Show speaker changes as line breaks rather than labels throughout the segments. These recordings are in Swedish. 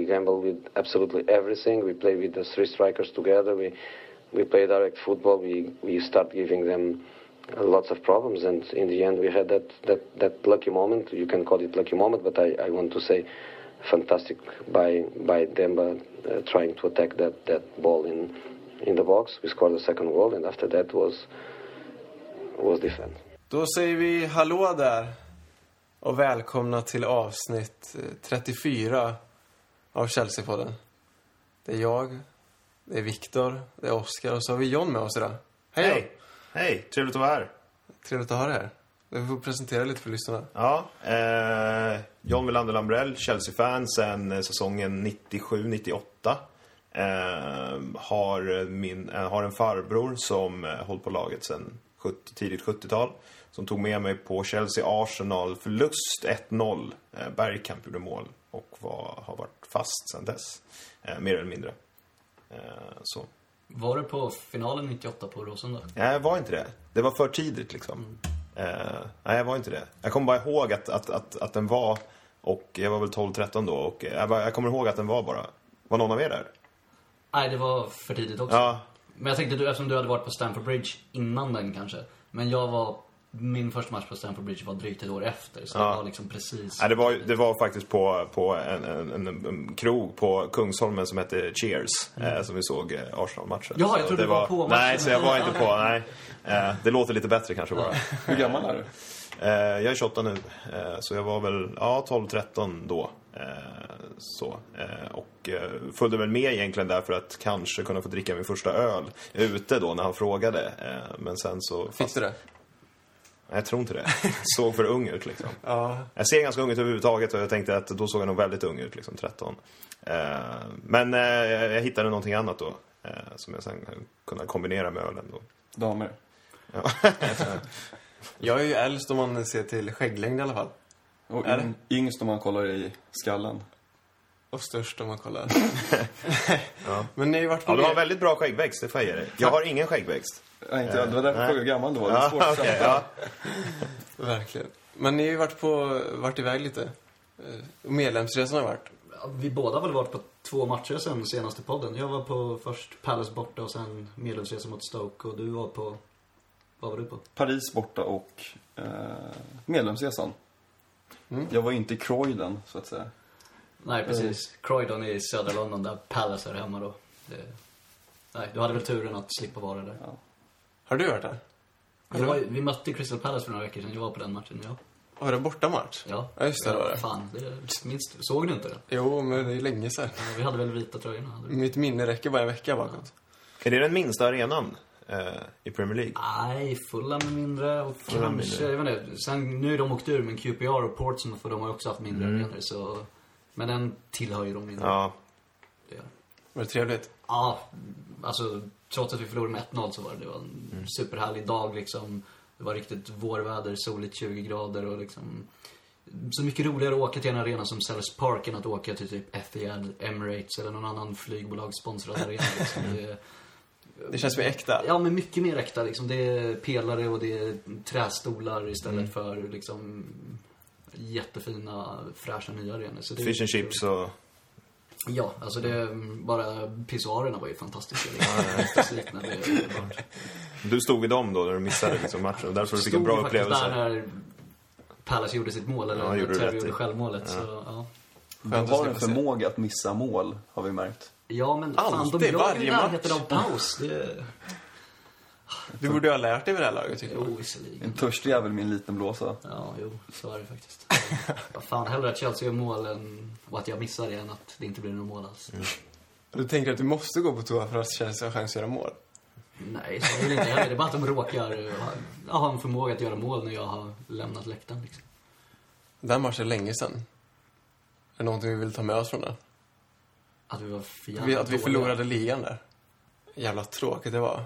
gamble with absolutely everything. We play with the three strikers together. We we play direct football. We we start giving them lots of problems, and in the end, we had that that that lucky moment. You can call it lucky moment, but I, I want to say fantastic by by Demba uh, trying to attack that that ball in in the box. We scored the second goal, and after that was was defense.
Då säger vi hallå där och välkomna till avsnitt eh, 34 av Chelsea-podden. Det är jag, det är Viktor, det är Oskar och så har vi John med oss idag. Hej! John.
Hej! Hej! Trevligt att vara här.
Trevligt att ha dig här. Du får presentera lite för lyssnarna.
Ja, eh, John Wilander Lambrell, Chelsea-fan sedan eh, säsongen 97-98. Eh, har, min, eh, har en farbror som eh, hållit på laget sedan 70, tidigt 70-tal. Som tog med mig på Chelsea-Arsenal förlust 1-0. Eh, Bergkamp gjorde mål och var, har varit fast sedan dess. Eh, mer eller mindre. Eh, så.
Var du på finalen 98 på Råsunda?
Nej, jag var inte det. Det var för tidigt liksom. Eh, nej, jag var inte det. Jag kommer bara ihåg att, att, att, att den var, och jag var väl 12-13 då, och jag, bara, jag kommer ihåg att den var bara. Var någon av er där?
Nej, det var för tidigt också.
Ja.
Men jag tänkte, du, eftersom du hade varit på Stamford Bridge innan den kanske. Men jag var, min första match på Stamford Bridge var drygt ett år efter. Så det var liksom precis.
Nej, det var, det var faktiskt på, på en, en, en, en krog på Kungsholmen som hette Cheers, eh, som vi såg eh, Arsenal-matchen.
Mm. Jaha, jag
Så
trodde du var på matchen.
Nej, så jag var inte på, nej. Eh, det låter lite bättre kanske bara.
Hur gammal är du?
Eh, jag är 28 nu, eh, så jag var väl ja, 12-13 då. Eh, så. Eh, och eh, följde väl med egentligen där för att kanske kunna få dricka min första öl ute då när han frågade. Eh, men sen så...
Fick du det?
Nej, jag tror inte det. Såg för ung ut liksom.
Ja.
Jag ser ganska ung ut överhuvudtaget och jag tänkte att då såg jag nog väldigt ung ut, liksom 13. Eh, men eh, jag hittade någonting annat då. Eh, som jag sen kunde kombinera med ölen då.
Damer.
Jag är ju äldst om man ser till skägglängd i alla fall.
Och
Är
yng, yngst om man kollar i skallen.
Och störst om man kollar. Men ni har ju varit på...
Ja, du har väldigt bra skäggväxt, det får jag ge dig. Jag har ingen skäggväxt.
Nej, inte jag. Det var därför jag frågade hur gammal du var. Det är
Ja,
svårt att
okej,
säga.
ja.
Verkligen. Men ni har ju varit på, varit iväg lite. Eh, Medlemsresan har varit.
Ja, Vi båda har väl varit på två matcher sen senaste podden. Jag var på först Palace borta och sen medlemsresa mot Stoke. Och du var på, vad var du på?
Paris borta och eh, medlemsresan. Jag var ju inte i Croydon, så att säga.
Nej, precis. Croydon i södra London där Palace är hemma då. Det... Nej, du hade väl turen att slippa vara där.
Har du varit där?
Jag var, ju- vi mötte Crystal Palace för några veckor sedan. Jag var på den matchen, ja.
Var det bortamatch?
Ja,
Ja, just det, det var det.
Fan, det minns du? Såg du inte det?
Jo, men det är länge sedan.
Ja, Vi hade väl vita tröjorna? Hade vi?
Mitt minne räcker bara en vecka bakåt.
Är det den minsta arenan eh, i Premier League?
Nej, fulla med mindre och kanske, jag vet inte. Sen, nu är de åkt ur, men QPR och Portsmouth, för de har ju också haft mindre
Mm.
arenor, så... Men den tillhör ju de mindre.
Ja.
Det gör den.
Var det trevligt?
Ja, alltså trots att vi förlorade med 1-0 så var det, det var en
Mm.
superhärlig dag liksom. Det var riktigt vårväder, soligt 20 grader och liksom så mycket roligare att åka till en arena som Sellers Park än att åka till typ Etihad, Emirates eller någon annan flygbolagssponsrad arena. Liksom. Det,
Det känns mer äkta.
ja, men mycket mer äkta liksom. Det är pelare och det är trästolar istället
Mm.
för liksom jättefina fräscha nya arenor. Så det är
Fish and chips och...
Ja, alltså det, bara pissoarerna var ju fantastiska. Det liknande.
Du stod vid dem då när du missade liksom, matchen och därför fick du en
Stod
bra
ju faktiskt där eh.
upplevelse.
när Palace gjorde sitt mål, eller
Ja, gjorde du
när Terry
rätt i.
gjorde självmålet. Så, ja.
Du
att
har en
slippa se.
förmåga att missa mål, har vi märkt.
ja, men fan,
Alltid,
de låg ju i
varje match.
närheten av paus. Det,
Du borde ju ha lärt dig vid det här laget, tycker jag.
jo,
En
visserligen.
törstig jävel med en liten blåsa.
Ja, jo, så är det faktiskt. Ja, fan, hellre att Chelsea gör mål än, och att jag missar det än att det inte blir något mål alls.
Mm.
Du tänker att du måste gå på toa för att Chelsea har chans att göra mål?
Nej, så är det väl inte heller. Det är bara att de råkar eh, ha, ja, ha en förmåga att göra mål när jag har lämnat läktaren. Liksom.
Den matchen är länge sedan. Är det någonting vi vill ta med oss från den?
Att vi var för jävla
Vi, att vi
dåliga.
förlorade ligan där. Jävla tråkigt det var.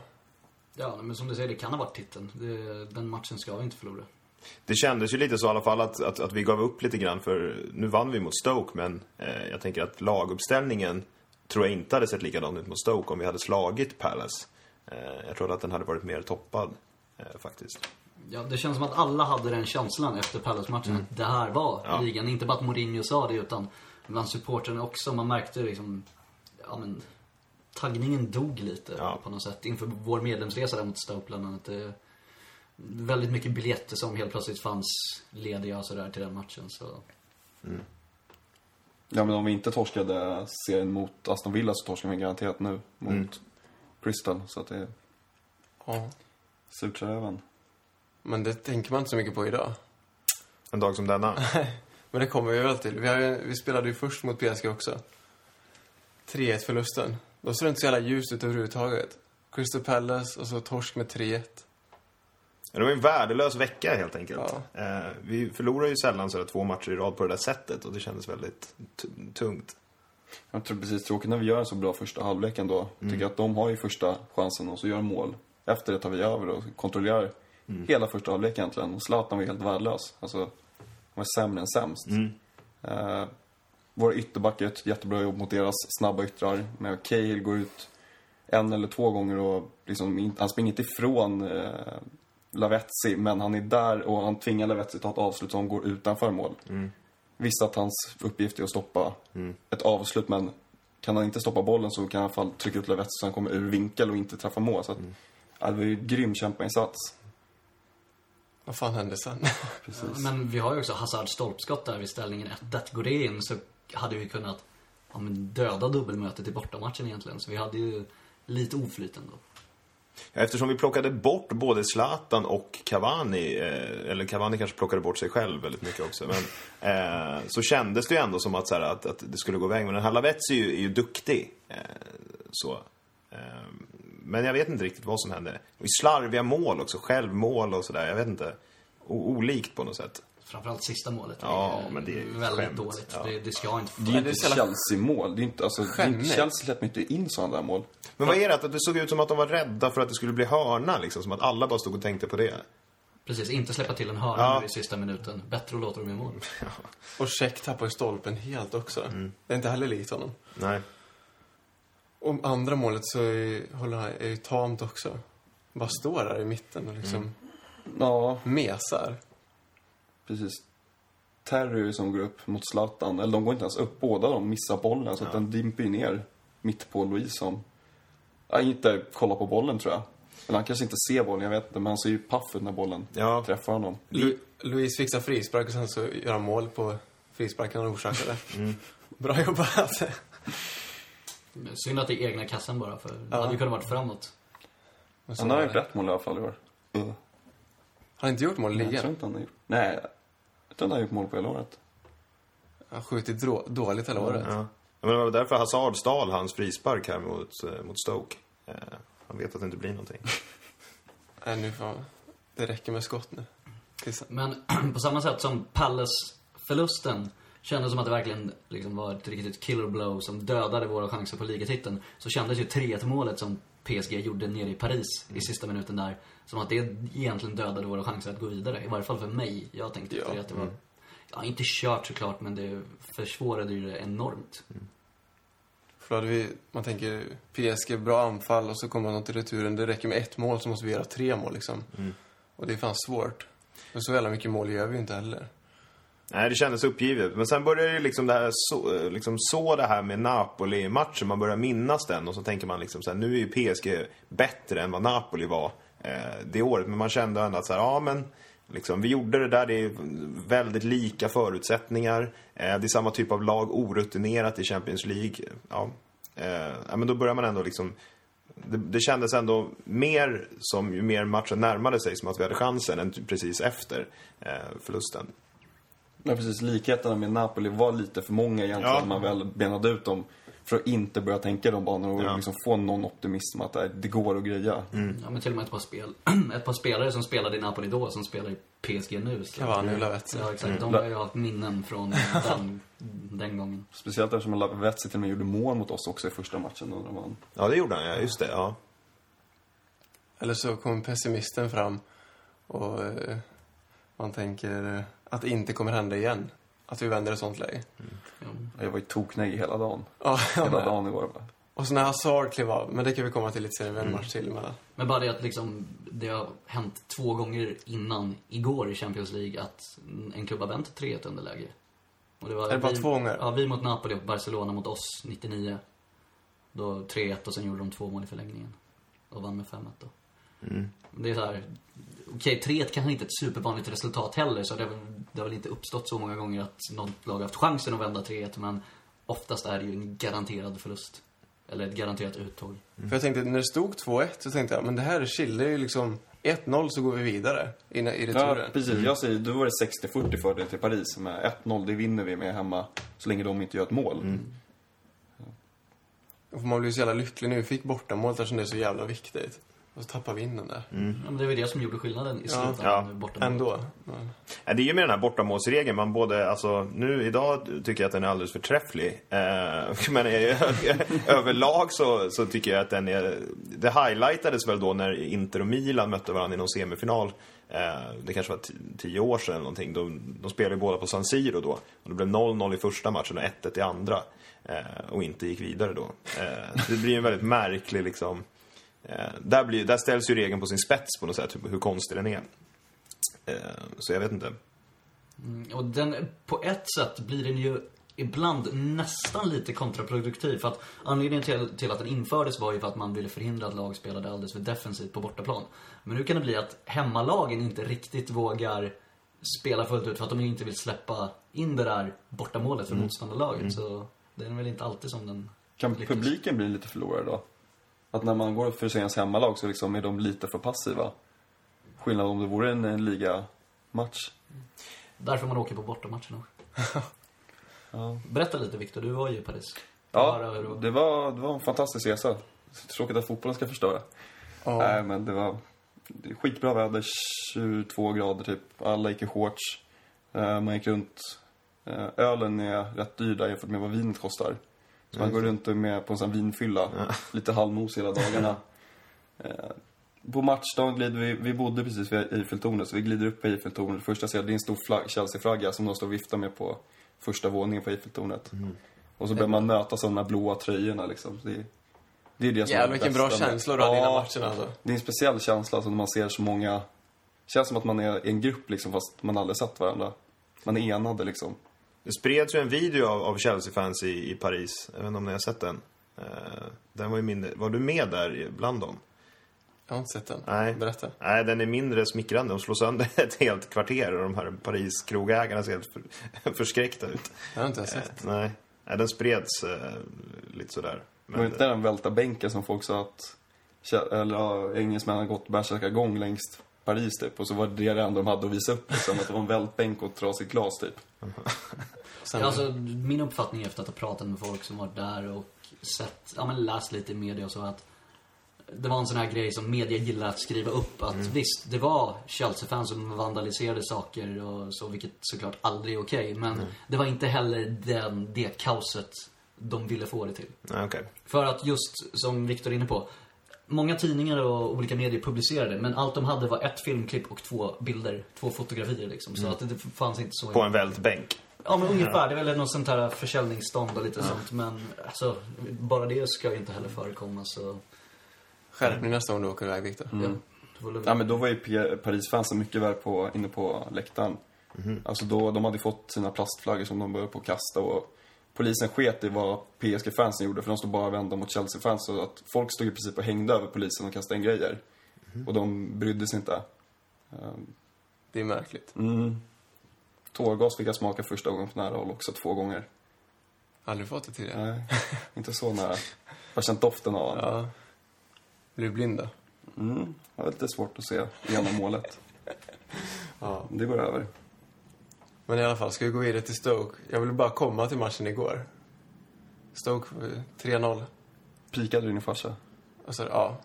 Ja, men som du säger, det kan ha varit titeln. Det, den matchen ska vi inte förlora.
Det kändes ju lite så i alla fall att, att, att vi gav upp lite grann för nu vann vi mot Stoke men eh, jag tänker att laguppställningen tror jag inte hade sett likadan ut mot Stoke om vi hade slagit Palace. Eh, jag trodde att den hade varit mer toppad eh, faktiskt.
Ja, det känns som att alla hade den känslan efter Palace-matchen. Att det här var ligan. Inte bara att Mourinho sa det, utan bland supportrarna också. Man märkte liksom, ja men, taggningen dog lite
Ja.
på något sätt inför vår medlemsresa där mot Stoke bland annat. Det, väldigt mycket biljetter som helt plötsligt fanns lediga och sådär till den matchen. Så.
Ja, men om vi inte torskade serien mot Aston Villa så torskar vi garanterat nu mot
Mm.
Crystal. Så att det är
Ja.
surt för även.
Men det tänker man inte så mycket på idag.
En dag som denna.
Men det kommer vi väl till. Vi, har ju, vi spelade ju först mot PSG också. 3-1-förlusten. Då såg det inte så jävla ljust ut överhuvudtaget. Crystal Palace och så torsk med 3-1.
Det var ju en värdelös vecka helt enkelt.
Ja.
Eh, vi förlorar ju sällan sådär två matcher i rad på det där sättet och det kändes väldigt t- tungt.
Jag tror precis tråkigt när vi gör en så bra första halvlek ändå. Tycker att de har ju första chansen och så gör de mål. Efter det tar vi över och kontrollerar hela första halvlek egentligen. Och Zlatan var helt värdelös. Alltså, han var sämre än sämst. Eh, våra ytterbackar gör ett jättebra jobb mot deras snabba yttrar. Men Cahill går ut en eller två gånger och liksom, in- han springer inte ifrån eh, Lavetzi. Men han är där och han tvingar Lavetzi ta ett avslut som går utanför mål. Visst att hans uppgift är att stoppa ett avslut men kan han inte stoppa bollen så kan han i alla fall trycka ut Lavetz så han kommer ur vinkel och inte träffa mål. Så att, ja, det var ju en grym kämpainsats.
Vad fan hände sen?
Men vi har ju också Hazards stolpskott där vid ställningen 1-1. Går det in så hade vi kunnat ja, men döda dubbelmötet i bortamatchen egentligen. Så vi hade ju lite oflyt ändå.
Ja, Eftersom vi plockade bort både Zlatan och Cavani, eh, eller Cavani kanske plockade bort sig själv väldigt mycket också, men, eh, så kändes det ju ändå som att, så här, att, att det skulle gå vägen. Men den här Lavetz är ju, är ju duktig. Eh, så. Eh, men jag vet inte riktigt vad som hände. Och slarviga mål också, självmål och sådär. Jag vet inte. O- olikt på något sätt.
Framförallt sista målet
Ja,
eh,
men det är ju ett
väldigt
skämt.
dåligt.
Ja.
Det, det ska inte få...
Det är ju
det är
inte
så jävla-
Chelsea-mål. Det är inte, alltså, det är inte
Skämmigt.
Chelsea släpper inte in sådana där mål.
Men vad är det? Att det såg ut som att de var rädda för att det skulle bli hörna liksom. Som att alla bara stod och tänkte på det.
Precis, inte släppa till en hörna
Ja.
nu i sista minuten. Bättre att låta dem i mål.
Och Check tappar ju stolpen helt också.
Mm.
Det är inte heller likt honom.
Nej.
Och andra målet så är ju, håller han, är ju tamt också. Bara står där i mitten och liksom
Mm. Ja,
mesar.
precis. Terry som går upp mot Zlatan, eller de går inte ens upp. Båda de missar bollen så att den dimper ju ner mitt på Louise som ja, inte kollar på bollen tror jag. Eller han kanske inte ser bollen, jag vet inte. Men han ser ju paff ut när bollen
Ja.
träffar honom.
Lu- Louise fixar frispark och sen så gör han mål på frisparken han orsakade.
Mm.
Bra jobbat.
Synd att det är egna kassan bara, för det hade ju kunnat varit framåt.
Och så-
Han har gjort ett mål i alla fall i år.
Har han inte gjort mål i
Nej, jag tror
ligan?
inte han har gjort. Nej, jag tror han har gjort mål på hela året.
Han skjuter drå- dåligt hela året.
Ja. Ja, Men det var därför Hazard stal hans frispark här mot, eh, mot Stoke. Eh, han vet att det inte blir någonting.
Nej, nu får Det räcker med skott nu. Tills-
Men på samma sätt som Palace-förlusten kändes som att det verkligen liksom var ett riktigt killer blow som dödade våra chanser på ligatiteln. Så kändes ju 3-1 målet som PSG gjorde nere i Paris i sista minuten där, som att det egentligen dödade våra chanser att gå vidare. I varje fall för mig. Jag tänkte efter det att det var, ja inte kört såklart, men det försvårade ju det enormt.
För då hade vi, man tänker PSG, bra anfall och så kommer de till returen. Det räcker med ett mål så måste vi göra tre mål liksom. Och det är fan svårt. Men så jävla mycket mål gör vi ju inte heller.
Nej, det kändes uppgivet. Men sen började det liksom det här, så, eh, liksom så det här med Napoli-matchen. Man börjar minnas den och så tänker man liksom så här, nu är ju PSG bättre än vad Napoli var eh, det året. Men man kände ändå att så här, ja men liksom, vi gjorde det där. Det är väldigt lika förutsättningar. Eh, det är samma typ av lag, orutinerat i Champions League. Ja, eh, ja men då börjar man ändå liksom det, det kändes ändå mer som ju mer matchen närmade sig som att vi hade chansen än precis efter eh, förlusten.
Nej, precis. Likheterna med Napoli var lite för många egentligen
Ja.
när man väl benade ut dem. För att inte börja tänka i de banorna och
Ja.
liksom få någon optimism att äh, det går att greja.
Ja, men till och med ett par, spel, ett par spelare som spelade i Napoli då, som spelar i PSG nu. Så.
Cavani och Lavetzi.
Ja, exakt. De har ju haft minnen från den, den gången.
Speciellt eftersom Lavetzi till och med gjorde mål mot oss också i första matchen. Och de vann.
Ja, det gjorde han, ja. Just det, ja.
Eller så kommer pessimisten fram och eh, man tänker eh, att det inte kommer hända igen. Att vi vänder ett sånt läge.
Ja.
Jag var ju toknägg hela dagen.
Ja, jag
Hela
med.
dagen igår. Bara.
och så när Hazard klev av, men det kan vi komma till lite senare, vi har en match till emellan.
Men bara det att liksom, det har hänt två gånger innan igår i Champions League att en klubb har vänt 3-1 underläge. Och det var
Är det bara
vi,
två gånger?
Ja, vi mot Napoli och Barcelona mot oss 99. Då 3-1 och sen gjorde de två mål i förlängningen. Och vann med 5-1 då.
Mm.
Det är så här, okej 3-1 kanske inte är ett supervanligt resultat heller så det har, väl, det har väl inte uppstått så många gånger att något lag har haft chansen att vända 3-1 men oftast är det ju en garanterad förlust. Eller ett garanterat uttåg.
För jag tänkte, när det stod 2-1 så tänkte jag, men det här är Chile, det är ju liksom 1-0 så går vi vidare i, i
Ja,
returen.
precis. Jag säger, då var det 60-40 fördel till Paris. Med 1-0, det vinner vi med hemma så länge de inte gör ett mål.
Och man blir så jävla lycklig nu. Vi fick bortamålet eftersom det är så jävla viktigt. Och så tappar vi in den där.
Mm.
Ja, men det var ju det som gjorde skillnaden i slutändan.
ja.
bortom-
Ändå. Men,
Ja, Det är ju med den här bortamålsregeln. Man både, alltså, nu idag tycker jag att den är alldeles förträfflig. Eh, men eh, överlag så, så tycker jag att den är... Det highlightades väl då när Inter och Milan mötte varandra i någon semifinal. Eh, det kanske var ti- tio år sedan eller någonting. De, de spelade ju båda på San Siro då. Och det blev 0-0 i första matchen och 1-1 i andra. Eh, och inte gick vidare då. Eh, det blir ju en väldigt märklig liksom... Eh, där, blir, där ställs ju regeln på sin spets på något sätt, hur, hur konstig den är. Eh, så jag vet inte.
Mm, Och den, på ett sätt blir den ju ibland nästan lite kontraproduktiv. För att anledningen till, till att den infördes var ju för att man ville förhindra att lag spelade alldeles för defensivt på bortaplan. Men nu kan det bli att hemmalagen inte riktigt vågar spela fullt ut för att de inte vill släppa in det där bortamålet för motståndarlaget. Så den är väl inte alltid som den...
Kan publiken bli lite förlorare då? Att när man går för Svensk hemmalag så liksom är de lite för passiva. Skillnad om det vore en, en ligamatch.
Därför man åker på bortamatcherna.
Ja.
Berätta lite Viktor, du var ju i Paris.
Ja,
Bara hur det var.
det var, det var en fantastisk resa. Tråkigt att fotbollen ska förstöra.
ja.
Nej, men det var det är skitbra väder, 22 grader typ. Alla gick i shorts. Eh, Man gick runt. Eh, Ölen är rätt dyr där jämfört med vad vinet kostar. Så man går runt med på en sån här vinfylla. Lite halvmos hela dagarna. Eh, På matchdagen glider vi, vi bodde precis vid Eiffeltornet, så vi glider upp på Eiffeltornet. Det första jag ser, det är en stor flagg, Chelsea-flagga som de står och viftar med på första våningen på Eiffeltornet. Och så börjar man mötas av de här blåa tröjorna liksom. Det, är- det är det som är det
Jävlar vilken bra
bästa med-
känsla du hade innan
Ja.
matchen alltså.
Det är en speciell känsla alltså, när man ser så många... Det känns som att man är i en grupp liksom, fast man aldrig sett varandra. Man är enade liksom.
Det spreds ju en video av, av Chelsea-fans i, i Paris. Jag vet inte om ni har sett den. Eh, den var ju mindre. Var du med där i- bland dem?
Jag har inte sett den.
Nej.
Berätta.
Nej, den är mindre smickrande. De slår sönder ett helt kvarter och de här Paris-krogägarna ser helt för, förskräckta ut.
Jag har inte ens sett.
Nej, Nej den spreds eh, lite sådär.
Men, var inte när de välta bänken som folk sa att kä- eller, ja, engelsmännen har gått bärsärkagång längst Paris typ. Och så var det det enda de hade att visa upp. Liksom, att det var en vältbänk och ett trasigt glas typ.
Sen,
Ja, Alltså, min uppfattning efter att ha pratat med folk som var där och sett, ja men läst lite i media och så att det var en sån här grej som media gillar att skriva upp att
Mm.
visst, det var Chelsea-fans som vandaliserade saker och så, vilket såklart aldrig är okej. men
Mm.
det var inte heller den, det kaoset de ville få det till.
eh, Nej, okej.
För att just, som Viktor är inne på, många tidningar och olika medier publicerade, men allt de hade var ett filmklipp och två bilder, två fotografier liksom. Så att det fanns inte så
Mm. På en vältbänk.
Ja men ungefär, det är väl något sånt här försäljningsstånd och lite sånt. Men alltså, bara det ska ju inte heller förekomma så...
skärp dig nästa gång du åker iväg Viktor.
Mm.
Ja, det var lugnt.
Ja, men då var ju P- Paris-fansen mycket väl på, inne på läktaren. Alltså då, de hade fått sina plastflaggor som de började på att kasta och polisen sket i vad PSG-fansen gjorde för de stod bara och vände mot Chelsea-fans. Så att folk stod i princip och hängde över polisen och kastade in grejer. Och de brydde sig inte. Ehm,
Det är märkligt.
Mm. Tårgas fick jag smaka första gången på nära håll också, två gånger.
Aldrig fått det tidigare.
Nej, inte så nära. Jag har känt doften av honom.
Ja. Blir du blind då?
Mm. Det var lite svårt att se genom målet.
Ja.
Det går över.
Men i alla fall, ska vi gå vidare till Stoke? Jag ville bara komma till matchen igår. Stoke eh, 3-0.
Pikade du din farsa?
Alltså, ja.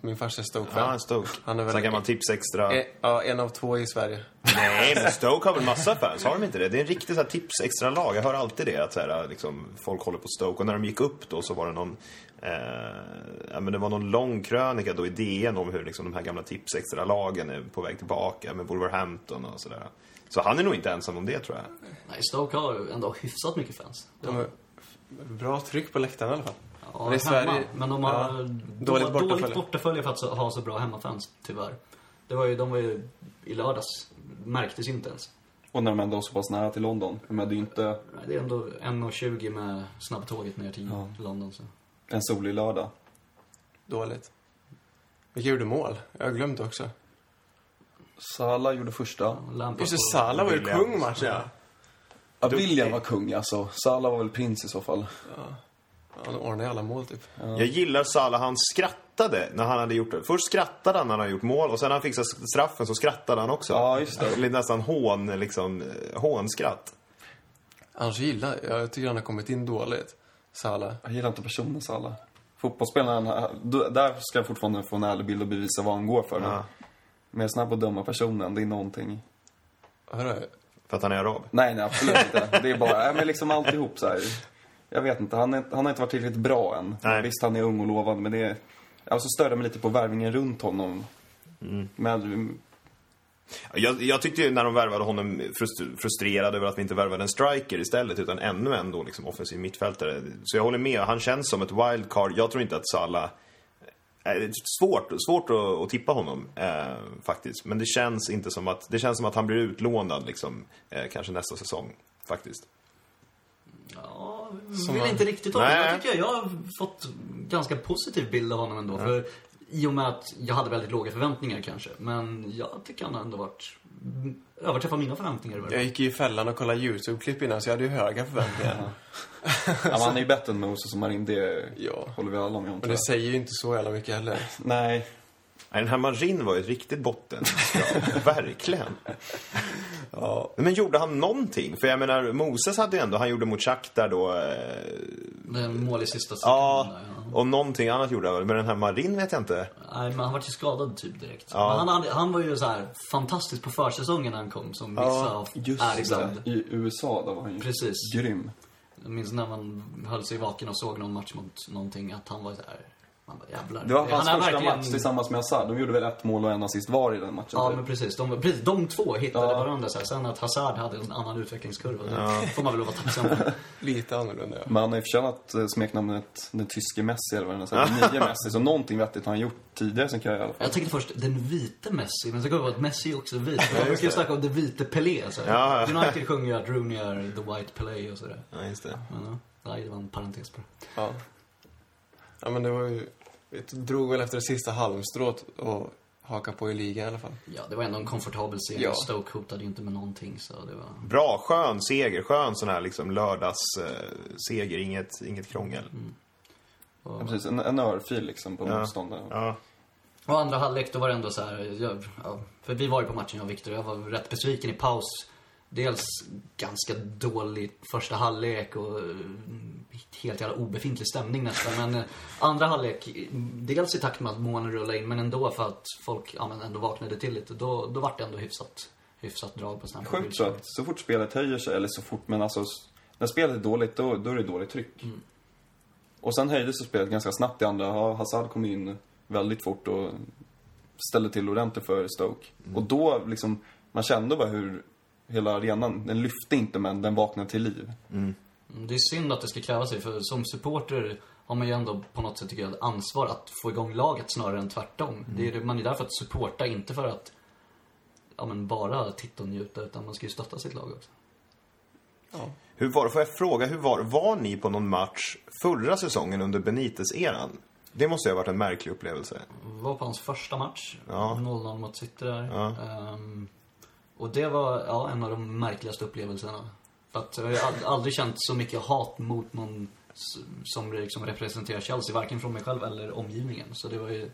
Min farsa är Stoke-fan.
Ja, en Stoke.
Han är väl-
Sen kan man tipsa extra.
Eh, ja, en av två i Sverige.
Nej, men Stoke har väl massa fans? Har de inte det? Det är en riktig så här, tips extra lag. Jag hör alltid det att så här, liksom, folk håller på Stoke. Och när de gick upp då så var det någon... Eh, ja, men det var någon lång krönika då i DN om hur liksom, de här gamla tips extra lagen är på väg tillbaka med Wolverhampton och sådär. Så han är nog inte ensam om det tror jag.
Nej, Stoke har ju ändå hyfsat mycket fans.
De har bra tryck på läktaren i alla fall.
Ja,
Men i
hemma.
Sverige-
Men de har
ja,
dåligt,
dåligt
dåligt
bortafölje.
bortafölje för att så- ha så bra hemmafans, tyvärr. Det var ju, de var ju i lördags, märktes ju inte ens.
Och när de ändå var så pass nära till London. Men det är ju inte
Nej, Det är ändå 1.20 med snabbtåget ner till London. Så.
en solig lördag.
Dåligt. Vilka gjorde mål? Jag har glömt också.
Sala gjorde första.
Lampard
Just det,
på-
Salah var ju
Williams.
kung i matchen. Ja.
Ja, William var kung alltså. Sala var väl prins i så fall.
Han ordnade ju alla mål typ.
Jag gillar Salah, han skrattade när han hade gjort det. Först skrattade han när han hade gjort mål och sen när han fixade straffen så skrattade han också.
Ja, just det.
Lite Nästan hån, liksom, eh, hånskratt.
Annars gillar jag, jag tycker han har kommit in dåligt. Salah.
Jag gillar inte personen Sala. Fotbollsspelaren, d- där ska jag fortfarande få en ärlig bild och bevisa vad han går för. Men- Men jag är snabb att döma personen, det är någonting.
Hörru,
För att han är arab.
Nej, nej absolut inte. Det är bara, nej, men liksom alltihop så här. Jag vet inte, han, är, han har inte varit tillräckligt bra än.
Nej.
Visst, han är ung och lovande, men det är... Alltså störde mig lite på värvningen runt honom. Men
Jag, jag tyckte ju när de värvade honom frust- frustrerad över att vi inte värvade en striker istället utan ännu en då liksom offensiv mittfältare. Så jag håller med, han känns som ett wildcard. Jag tror inte att Salah... eh, Det är svårt, svårt att, att tippa honom eh, faktiskt. Men det känns inte som att, det känns som att han blir utlånad liksom, eh, kanske nästa säsong faktiskt.
Ja,
Som
vill
han-
inte riktigt ha
Nej.
det. Jag tycker jag har fått ganska positiv bild av honom ändå. För I och med att jag hade väldigt låga förväntningar kanske. Men jag tycker han har ändå varit överträffat mina förväntningar. i varje
jag
fall.
gick ju i fällan och kollade YouTube-klipp innan så jag hade ju höga förväntningar.
ja, men han är ju bättre än Moses och Marin, det
Ja.
håller vi alla med om
Men
tror
det
jag.
säger ju inte så jävla mycket heller.
Nej,
Nej, Den här Marin var ju ett riktigt botten. Verkligen.
Ja.
Men gjorde han någonting? För jag menar, Moses hade ju ändå, han gjorde mot Shakhtar då eh,
Det är mål i sista
Ja,
sekunden. Ja.
och någonting annat gjorde han väl. Men den här Marin vet jag inte.
Nej, men han var ju skadad typ direkt.
Ja.
Men han, hade, han var ju så här fantastisk på försäsongen när han kom som vissa
just
är ibland.
det. I USA, där var han ju
Precis.
grym.
Jag minns när man höll sig vaken och såg någon match mot någonting att han var så här. Man bara, jävlar.
Det var hans
han är
första
verkligen-
match tillsammans med Hazard. De gjorde väl ett mål och en assist var i den matchen.
Ja,
typ.
men precis. De, precis, de två hittade
Ja.
varandra. Så här. Sen att Hazard hade en annan utvecklingskurva, det får man väl vara tacksam för.
Lite annorlunda ja.
Men han har ju förtjänat eh, smeknamnet den tyske Messi eller vad den säger, den nye Messi. Så någonting vettigt har han gjort tidigare som karriär i alla fall.
Jag tänkte först den vite Messi, men så kom jag på att Messi är också vit. Jag brukar ju snacka om den vite Pelé. Så här.
Ja, ja.
United sjunger ju att Rooney är the white Pelé och sådär.
Ja, just det.
Men, ja. Nej, det var en parentes på det.
ja. Ja men det var ju, vi drog väl efter det sista halmstrået och hakade på i ligan i alla fall.
Ja, det var ändå en komfortabel seger.
Ja.
Stoke hotade ju inte med någonting, så det var...
Bra, skön seger. Skön sån här liksom lördagsseger. Eh, seger. inget, inget krångel.
Ja, precis. En, en örfil liksom på
Ja.
motståndaren.
Ja.
Och andra halvlek, då var det ändå så här, jag, ja, för vi var ju på matchen jag och Viktor, jag var rätt besviken i paus. Dels ganska dålig första halvlek och mm, helt jävla obefintlig stämning nästan. Men eh, andra halvlek, dels i takt med att månen rullade in, men ändå för att folk ja, men ändå vaknade till lite. Då, då var det ändå hyfsat, hyfsat drag på Stamford
Sjukt så att så fort spelet höjer sig, eller så fort, men alltså s- när spelet är dåligt då, då är det dåligt tryck.
Mm.
Och sen höjdes ju spelet ganska snabbt i andra. Ha- Hazard kom in väldigt fort och ställde till ordentligt för Stoke.
Mm.
Och då liksom, man kände bara hur hela arenan, den lyfte inte men den vaknade till liv.
Mm, Det är synd att det ska kräva sig, för som supporter har man ju ändå på något sätt, tycker jag, ett ansvar att få igång laget snarare än tvärtom. Det är, ju det- man är där för att supporta, inte för att ja, men bara titta och njuta, utan man ska ju stötta sitt lag också.
Hur var, får jag fråga, hur var, var ni på någon match förra säsongen under Benites-eran? Det måste ju ha varit en märklig upplevelse.
var på hans första match,
Ja.
0-0 mot City där. Ehm, och det var ja, en av de märkligaste upplevelserna. För att jag har ju ald- aldrig känt så mycket hat mot någon s- som liksom representerar Chelsea, varken från mig själv eller omgivningen. Så det var ju,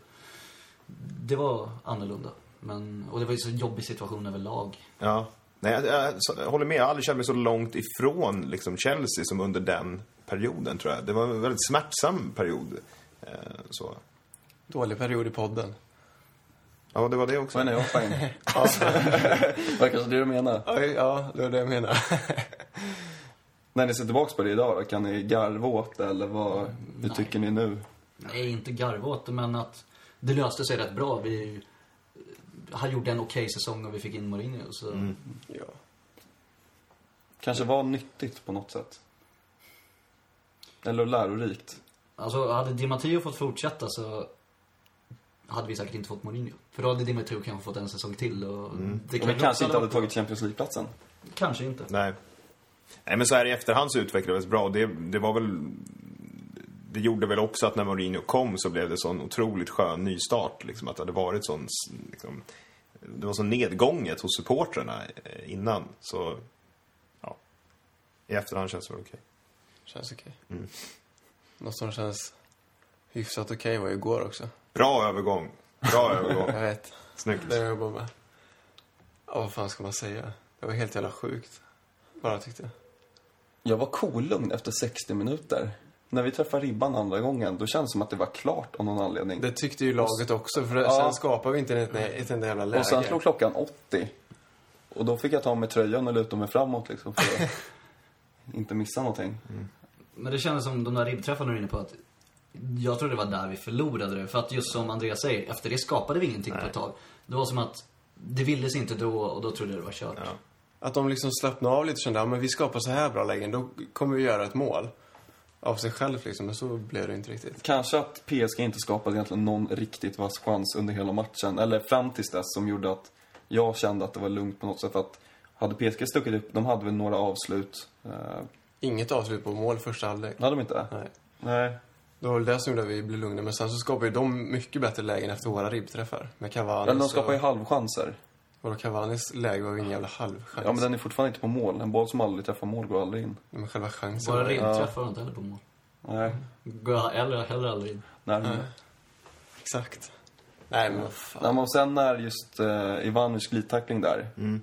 det var annorlunda. Men, och det var ju så jobbig situation överlag.
Ja. Nej, jag, jag, så- jag håller med. Jag har aldrig känt mig så långt ifrån liksom, Chelsea som under den perioden, tror jag. Det var en väldigt smärtsam period. Eh, så.
Dålig period i podden.
Ja, det var det
Så är
också.
det, jag har poäng. Det var kanske det du menar.
Oj, ja, det var det jag menade.
När ni ser tillbaks på det idag då, kan ni garva åt det eller vad, hur tycker ni nu?
Nej, inte garva åt det, men att det löste sig rätt bra. Vi, han gjorde en okej säsong och vi fick in Mourinho. Så
Ja.
Kanske var nyttigt på något sätt? Eller lärorikt?
Alltså, hade Di Matteo fått fortsätta så hade vi säkert inte fått Mourinho. För då hade Di Matteo kanske fått en säsong till. Och det
Mm. Men
ju också
kanske inte hade
varit-
tagit Champions League-platsen.
Kanske inte.
Nej. Nej, men så här i efterhand så utvecklades det bra. Det, det var väl... Det gjorde väl också att när Mourinho kom så blev det sån otroligt skön nystart. Liksom, att det hade varit sån... Liksom, det var så nedgånget hos supportrarna eh, innan. Så, ja. I efterhand känns det väl okej.
Känns okej.
Mm.
Något som känns hyfsat okej var igår också.
Bra övergång. Bra övergång.
Jag vet.
Snyggt.
Det jag bara med. Ja, vad fan ska man säga? Det var helt jävla sjukt. Bara tyckte jag.
Jag var kolugn efter 60 minuter. När vi träffade ribban andra gången, då kändes det som att det var klart av någon anledning.
Det tyckte ju laget också, för det,
Ja.
sen skapar vi inte ett, ett enda jävla läge.
och sen slog klockan 80. Och då fick jag ta av mig tröjan och luta mig framåt liksom för att inte missa någonting.
Men det kändes som de där ribbträffarna du är inne på att jag tror det var där vi förlorade det. För att just som Andreas säger, efter det skapade vi ingenting på ett tag. Det var som att det villes inte då och då trodde jag det var kört.
Ja.
Att de liksom slappnade av lite och kände, ja men vi skapar så här bra lägen, då kommer vi göra ett mål. Av sig själv liksom, men så blev det inte riktigt.
Kanske att PSG inte skapade egentligen någon riktigt vass chans under hela matchen. Eller fram tills dess som gjorde att jag kände att det var lugnt på något sätt. För att hade PSG stuckit upp, de hade väl några avslut. Eh,
Inget avslut på mål första halvlek.
hade de inte?
Nej.
Nej.
Det var väl det som gjorde att vi blev lugna, men sen så skapade ju de mycket bättre lägen efter våra ribbträffar. Med Cavani
Eller de skapade ju
och...
halvchanser.
Vadå, Cavanis läge var ju ingen jävla halvchans.
Ja, men den är fortfarande inte på mål. En boll som aldrig träffar mål går aldrig in.
Men själva chansen
Bara
var ju-
ribbträffar var inte heller på mål.
Nej.
Går jag heller, heller aldrig in.
Närmare.
Mm. Nej. Exakt. Nej men vad fan.
Nej, men och sen när just uh, Ivanovic glidtackling där.
Mm.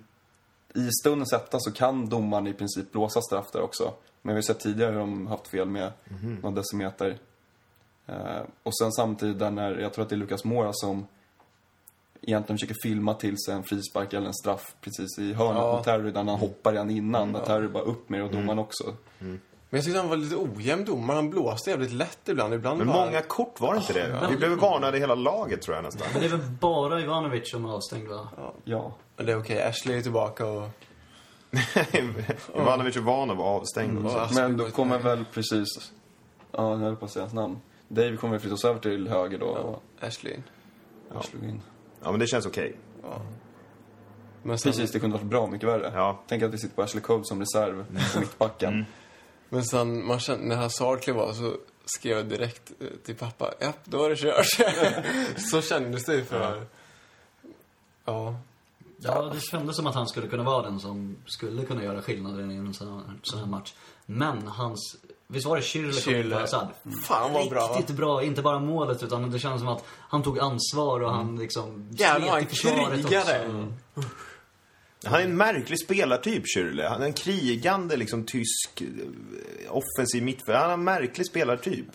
I stundens hetta så kan domaren i princip blåsa straff där också. Men vi har sett tidigare hur de haft fel med
Mhm.
några decimeter. Eh, och sen samtidigt där när, jag tror att det är Lukas Mora som egentligen försöker filma till sig en frispark eller en straff precis i hörnet
Ja. Mm.
mot Terry där han hoppar redan innan. Där Terry bara upp med det och domaren också.
Men jag tyckte han var lite ojämn domare. Han blåste jävligt lätt ibland. Ibland
Men
var han-
många kort var det inte det? Vi blev varnade i hela laget tror jag nästan.
Men det är väl bara Ivanovic som är avstängd va?
Ja.
Men det är okej. Ashley är tillbaka och...
Ivanovic och Vanov var avstängd också.
Ja,
Men
Ashley
då
var-
kommer väl precis... Ja, jag höll på att säga hans namn. Dave kommer väl flyttas över till höger då. Och
Ashley in.
jag slog in.
Ja, men det känns okej.
Men sen,
Precis, det kunde varit bra mycket värre.
Ja.
Tänk att vi sitter på Ashley Cole som reserv
Mm.
på mittbacken.
men sen man kände, när Hazard klev av så skrev jag direkt eh, till pappa. Ja, då är det kört. så kändes det ju för... Ja.
Ja, det kändes som att han skulle kunna vara den som skulle kunna göra skillnaden i en sån här, sån här match. Men hans... Visst var det Schürrle som kom in
Schürrle.
på Hazard?
Mm. Fan vad bra. va?
Riktigt bra. Inte bara målet, utan det kändes som att han tog ansvar och han liksom...
Mm. Jävlar vad han
slet i försvaret
krigade.
också.
Mm.
Han är en märklig spelartyp, Schürrle. Han är en krigande, liksom tysk eh, offensiv mittfältare. Han är en märklig spelartyp.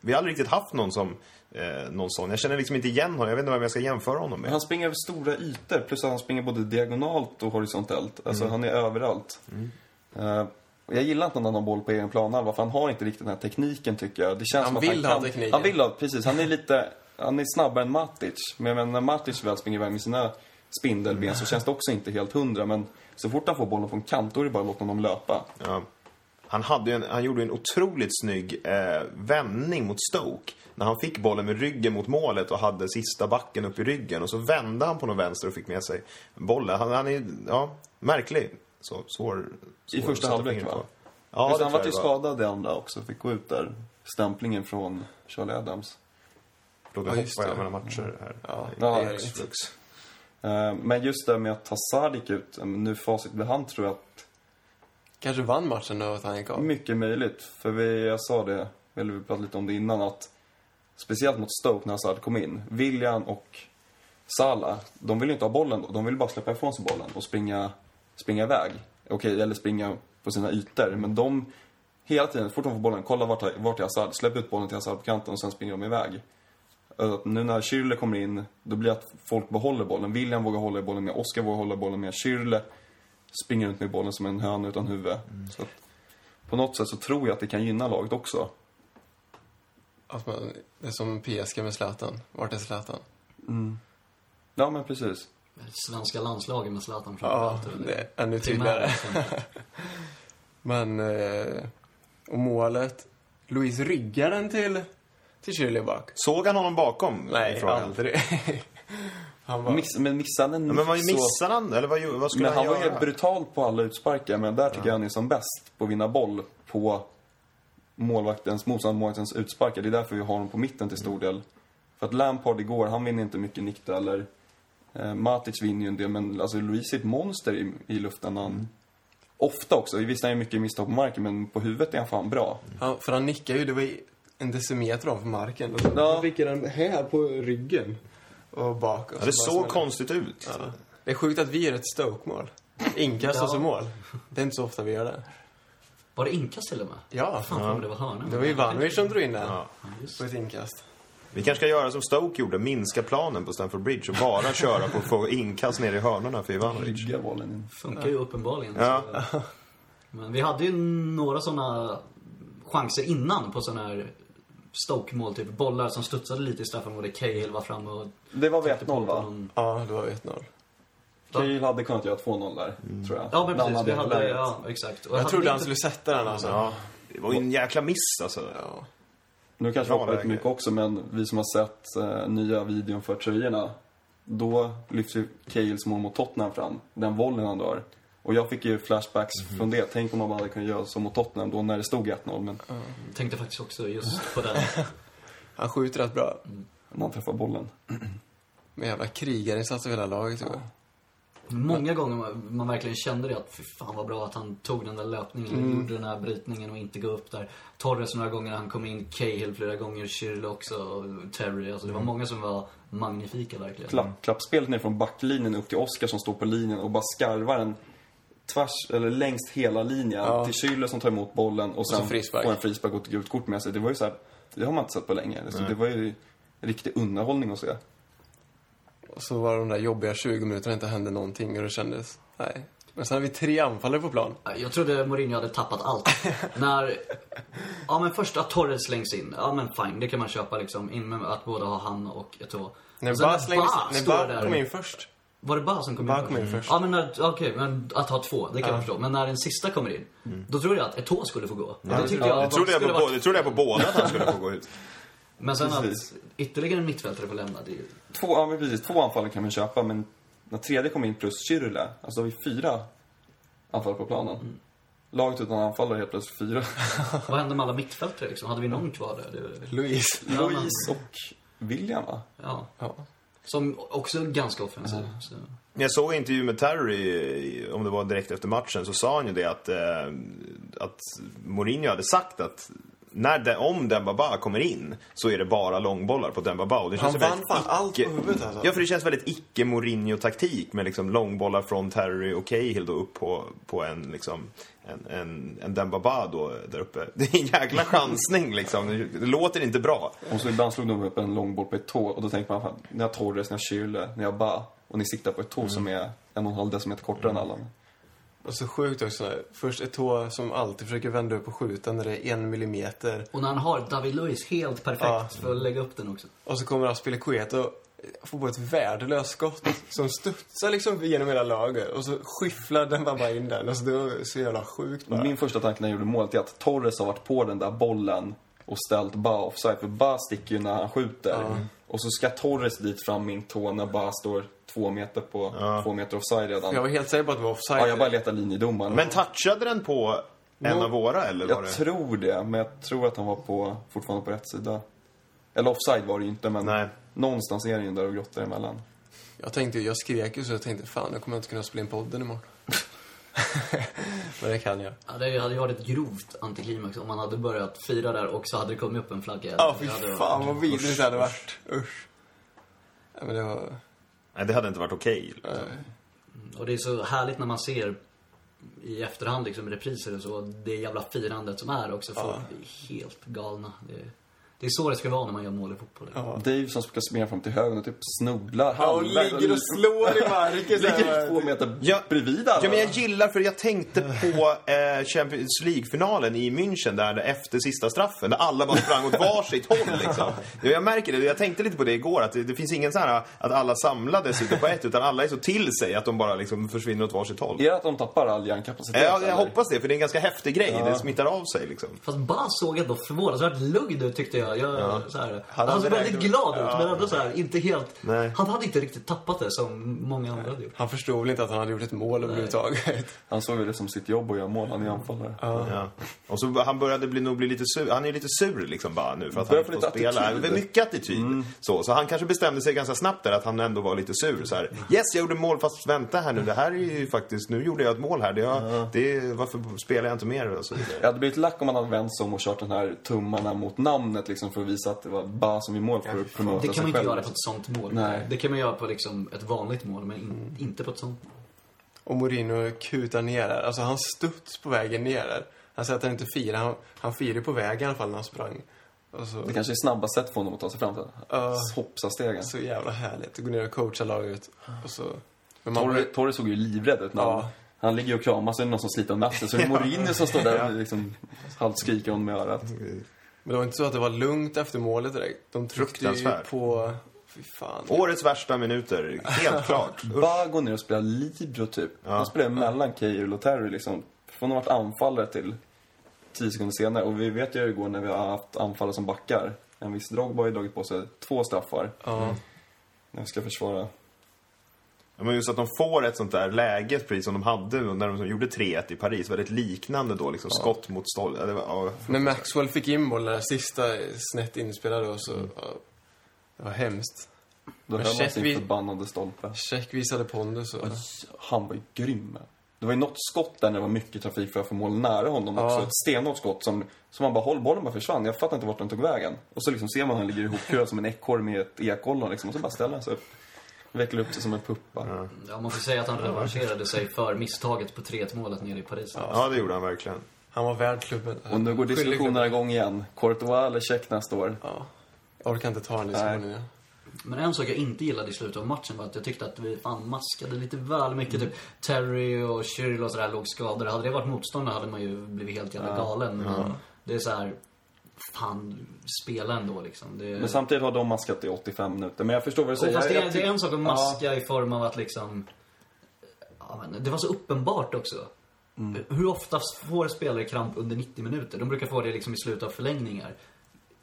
Vi har aldrig riktigt haft någon som, eh, någon sån. Jag känner liksom inte igen honom. Jag vet inte vem jag ska jämföra honom
Men
med.
Han springer över stora ytor, plus att han springer både diagonalt och horisontellt. Alltså,
Mm.
han är överallt. Eh, och jag gillar inte när han har boll på egen planhalva, för han har inte riktigt den här tekniken, tycker jag. Det känns
Han
som att
vill
han
ha
kan...
tekniken.
Han vill ha, precis. Han är lite... Han är snabbare än Matic. Men jag menar, när Matic väl springer iväg med sina
Mm.
spindelben så känns det också inte helt hundra. Men så fort han får bollen från kant, då är det bara att låta honom löpa.
Ja. Han, hade ju en, han gjorde ju en otroligt snygg eh, vändning mot Stoke. När han fick bollen med ryggen mot målet och hade sista backen upp i ryggen. Och så vände han på någon vänster och fick med sig bollen. Han, han är, ja, märklig. Så, svår, svår
I
att
första
sätta
halvlek,
fingret
va?
på. Ja,
Just,
det
han
tror
var
jag
ju
det var.
skadad i andra också, fick gå ut där. Stämplingen från Charlie Adams.
Förlåt,
Ja,
jag
just
hoppar jag
det.
mellan matcher här.
Ja,
I-
det är
i-
riktigt.
flux.
Eh, Men just det med att Hazard gick ut, eh, nu facit med hand tror jag att
Kanske vann matchen då att han gick av.
mycket möjligt. För vi, jag sa det, eller vi pratade lite om det innan, att speciellt mot Stoke när Hazard kom in, William och Salah, de vill ju inte ha bollen då. De vill bara släppa ifrån sig bollen och springa, springa iväg. Okej, eller springa på sina ytor. Men de, hela tiden, så fort de får bollen, kolla vart, vart är Hazard? Släpp ut bollen till Hazard på kanten och sen springer de iväg. Alltså, Att nu när Schürrle kommer in, då blir det att folk behåller bollen. William vågar hålla i bollen mer, Oscar vågar hålla i bollen mer. Schürrle springer runt med bollen som en höna utan huvud. Så att, på något sätt så tror jag att det kan gynna laget också.
Att man, det är som PSG med Zlatan. Vart är Zlatan?
Ja, men precis.
Svenska landslaget med Zlatan
Ja,
framförallt.
det är ännu
Primära
tydligare.
exempel.
Men, eh, och målet. Louise ryggar den till till Kyrliebak.
Såg han honom bakom?
Nej,
Frågan.
aldrig. Han bara,
Miss, men missade den
Ja, Men vad
så-
missade han? Eller vad, vad skulle
Men han
han,
var
göra?
ju brutal på alla utsparkar, men där tycker jag han är som bäst på att vinna boll på målvaktens, motståndarmålvaktens utsparkar. Det är därför vi har honom på mitten till stor del. För att Lampard igår, han vinner inte mycket nickdueller. Eh, Matic vinner ju en del, men alltså Luis är ett monster i, i luften. Han,
Mm.
Ofta också. Visst, han är mycket misstag på marken, men på huvudet är han fan bra.
han, för han nickade ju, det var ju en decimeter ovanför marken. Och
Ja.
så fick han den här på ryggen och bak. Och
Ja, det
så bara
såg
smällde.
konstigt ut.
Ja. Det är sjukt att vi gör ett Stoke-mål. Inkast och så
Ja.
mål. Det är inte så ofta vi gör det.
Var det inkast till och med?
Ja,
Fan, ja. det var hörna.
det var Ivanovic som drog in den
Ja.
på ett inkast.
Vi kanske ska göra som Stoke gjorde, minska planen på Stamford Bridge och bara köra på att få inkast ner i hörnorna för Ivanovic.
Rygga bollen in.
funkar ju uppenbarligen.
Ja.
Så. Men vi hade ju några såna chanser innan på såna här Stoke-mål, typ bollar som studsade lite i straffområdet. Cahill var framme och...
Det var
tryckte på
1-0, va?
någon-
Ja, det var 1-0.
Ja.
Cahill hade kunnat göra 2-0 där, tror jag.
Ja, men
När han
precis. Vi
det
hade,
läget.
ja, exakt. Och
Jag
hade
trodde han
inte-
skulle sätta den alltså.
Ja, det var ju en jäkla miss alltså.
Ja.
Nu kanske
Bra
vi hoppar lite
läge.
mycket också, men vi som har sett eh, nya videon för tröjorna. Då lyfts ju Cahills mål mot Tottenham fram, den volleyn han drar. Och jag fick ju flashbacks från det. Tänk om man bara hade kunnat göra så mot Tottenham då när det stod 1-0, men
Tänkte faktiskt också just på den.
Han skjuter rätt bra.
när han träffar bollen.
Med jävla krigarinsats av hela laget typ. igår.
Många gånger man, man verkligen kände det att fy fan vad bra att han tog den där löpningen,
Mm.
gjorde den här brytningen och inte gå upp där. Torres några gånger när han kom in, Cahill flera gånger, Schürrle också, och Terry. Alltså det
Mm.
var många som var magnifika verkligen.
Klapp, Klappspelet ner från backlinjen upp till Oskar som står på linjen och bara skarvar den tvärs, eller längst hela linjen
Ja.
till Schüller som tar emot bollen och
så
sen
frispark.
får en frispark och ett gult kort med sig. Det var ju så här, det har man inte sett på länge. Så det var ju riktig underhållning att se.
Och så var det de där jobbiga 20 minuterna inte hände någonting och det kändes... Nej. Men sen har vi tre anfallare på plan.
Jag trodde Mourinho hade tappat allt. När, ja men först att Torres slängs in, ja men fine, det kan man köpa liksom. In med att båda har han och Eto'o.
När
Och sen
Ba slängdes...
Ba
När
står
Ba
där.
kom in först.
Var det Ba som kom in
Ba
först?
kom in först.
Ja, men när, okej, men att ha två, det kan jag förstå. Men när den sista kommer in,
Mm.
då trodde jag att Eto'o skulle få gå. det tyckte jag,
Det trodde jag,
skulle
på,
varit-
bå- det trodde jag på båda att han skulle få gå ut.
Men sen
Precis.
att ytterligare en mittfältare får lämna, det är ju...
Två, ja, men precis, två anfall kan man köpa, men när tredje kom in plus Kyrle, alltså då har vi fyra anfall på planen.
Mm.
Laget utan anfallare helt plötsligt fyra.
Vad hände med alla mittfältare liksom? Hade vi någon kvar där? Det,
Louise.
Ja, men-
Louise och William, va?
ja.
Ja.
Som också är ganska offensiv. Så.
Jag såg en intervju med Terry, eh, om det var direkt efter matchen, så sa han ju det att, eh, att Mourinho hade sagt att när de, om Dembaba kommer in så är det bara långbollar på Dembaba. Och det
Han
ju
vann
väldigt
fan allt på
icke-
huvudet alltså.
Ja, för det känns väldigt icke-Mourinho-taktik med liksom långbollar från Terry och Cahill då upp på, på en, liksom, en, en, en Dembaba då där uppe. Det är en jäkla chansning liksom. Det låter inte bra.
Och så ibland slog de upp en långboll på ett tå och då tänkte man, fan, ni har Torres, ni har Kyrle, ni har Ba och ni siktar på ett tå som är en och en halv decimeter kortare än alla.
Och så sjukt också. när- Först Eto'o som alltid försöker vända upp och skjuta när det är en millimeter.
Och när han har David Luiz helt perfekt
Ja.
för att lägga upp den också.
Och så kommer Aspilicueta och får på ett värdelöst skott som studsar liksom genom hela laget. Och så skyfflar den bara in den. Alltså det var så jävla sjukt
Mm.
bara.
Min första tanke när jag gjorde målet är att Torres har varit på den där bollen och ställt Ba offside, för Ba sticker ju när han skjuter. Och så ska Torres dit fram min tå när Ba står två meter på, två meter offside redan.
Jag var helt säker på att det var offside.
Ja, jag bara letar linjedomaren.
Men touchade den på en
Nå-
av våra eller var
jag
det?
tror det, men jag tror att han var på, fortfarande på rätt sida. Eller offside var det ju inte, men
Nej.
någonstans är det ju där och grottar emellan.
Jag tänkte, jag skrek ju så jag tänkte fan nu kommer jag inte kunna spela in podden imorgon. Men det kan jag.
Ja, det hade ju varit ett grovt antiklimax om man hade börjat fira där och så hade det kommit upp en flagga.
Ja, fy
Det hade varit-
fan vad vidrigt det hade varit. Usch. Ja, men det var...
Nej, det hade inte varit okej.
Mm. Och det är så härligt när man ser i efterhand liksom repriser och så, det jävla firandet som är också. Folk blir helt galna. Det är, det är så det ska vara när man gör mål i fotboll.
Ja.
Dave som ska springa fram till höger och typ snubblar
Ja, och ligger och slår i marken så här.
Ligger två meter
Ja.
bredvid alla.
Ja, men jag gillar, för jag tänkte på eh, Champions League-finalen i München där efter sista straffen, där alla bara sprang åt varsitt håll. Liksom. Ja, jag märker det, jag tänkte lite på det igår, att det, det finns ingen så här att alla samlade sitter på ett, utan alla är så till sig att de bara liksom försvinner åt varsitt håll.
Är det att de tappar all
Eh,
hjärnkapacitet?
Jag,
eller?
jag hoppas det, för det är en ganska häftig grej. Det smittar av sig liksom.
Fast Bas såg ändå förvånansvärt lugn ut tyckte jag. jag. jag
Ja.
så här, han
hade
såg
räknat-
väldigt glad ut,
Ja.
men ändå så här, inte helt...
Nej.
Han hade inte riktigt tappat det som många andra hade gjort.
Han förstod väl inte att han hade gjort ett mål överhuvudtaget.
Han såg ju det som sitt jobb att göra mål. Han är anfallare.
Ja. Och så han började bli, nog bli lite sur. Han är lite sur liksom bara nu för att han
Börjar
inte
få
får
lite
spela.
attityd. Mm.
Det är mycket attityd. Så, så han kanske bestämde sig ganska snabbt där att han ändå var lite sur. Så här, yes, jag gjorde mål fast vänta här nu. Det här är ju faktiskt, nu gjorde jag ett mål här. Det, jag, det, varför spelar jag inte mer? Och så vidare.
Jag hade blivit lack om man hade vänt sig om och kört den här tummarna mot namnet liksom för att visa att det var Ba som i mål för att promota
Det
sig
kan man inte
själv.
göra på ett sånt mål.
Nej.
Det kan man göra på liksom ett vanligt mål, men in, inte på ett sånt.
Och Mourinho kutar ner där. Alltså han studs på vägen ner där. Han säger att han inte firar. Han, han firar ju på vägen i alla fall när han sprang. Och så,
Det kanske är snabba sätt för honom att ta sig fram till
Ja.
Hoppsa stegen.
så jävla härligt. Att gå ner och coacha laget. Och så... Men
Torre, Torre såg ju livrädd ut när
Ja.
han, han ligger och kramas så är det någon som sliter om nacken. Så det är Mourinho som står där och liksom halvt skriker honom i örat.
Men det var inte så att det var lugnt efter målet direkt. De tryckte ju
Fruktansvärt.
på... Fy fan.
Årets värsta minuter, helt klart.
Ba går ner och spelar libero typ. Han spelar mellan Keyyo och Terry liksom. Från att ha varit anfallare till tio sekunder senare. Och vi vet ju hur det går när vi har haft anfallare som backar. En viss Drogba har ju dragit på sig två straffar
Ja.
när vi ska försvara.
Ja, Men just att de får ett sånt där läge, precis som de hade när de gjorde 3-1 i Paris. Väldigt liknande då, liksom skott mot stolpe. Ja, det var- ja,
När Maxwell fick in bollen där sista snett inspelade och så...
Mm.
Ja, det var hemskt.
Då
Men
höll han sin
Chetfield-
förbannade stolpe.
Check visade pondus och...
Oj, Han var ju grym. Det var ju något skott där när det var mycket trafik för att få mål nära honom
Ja.
också. Ett stenhårt skott som, som han bara håll bollen bara försvann. Jag fattar inte vart den tog vägen. Och så liksom ser man hur han ligger ihopkurad som en ekorre med ett ekollon liksom. Och så bara ställer han sig upp. Vecklar upp sig som en puppa.
Ja, man får säga att han revancherade sig för misstaget på 3-1 målet nere i Paris.
ja, det gjorde han verkligen.
Han var värd klubben.
Och nu går
Skyldig
diskussionerna
klubben.
igång igen. Courtois eller Cech nästa år?
Ja. Jag orkar inte ta den diskussionen. ja.
Men en sak jag inte gillade i slutet av matchen var att jag tyckte att vi fan maskade lite väl mycket.
Mm.
Typ Terry och Kyril och sådär låg skadade. Hade det varit motståndare hade man ju blivit helt jävla galen. Men Det är så här, fan, spela ändå liksom. Det...
Men samtidigt har de maskat i 85 minuter. Men jag förstår vad du
Och
säger.
fast det,
Jag-
är,
jag
det är
tyck-
en sak att maska i form av att liksom... Ja, men det var så uppenbart också.
Mm.
Hur ofta får spelare kramp under 90 minuter? De brukar få det liksom i slutet av förlängningar.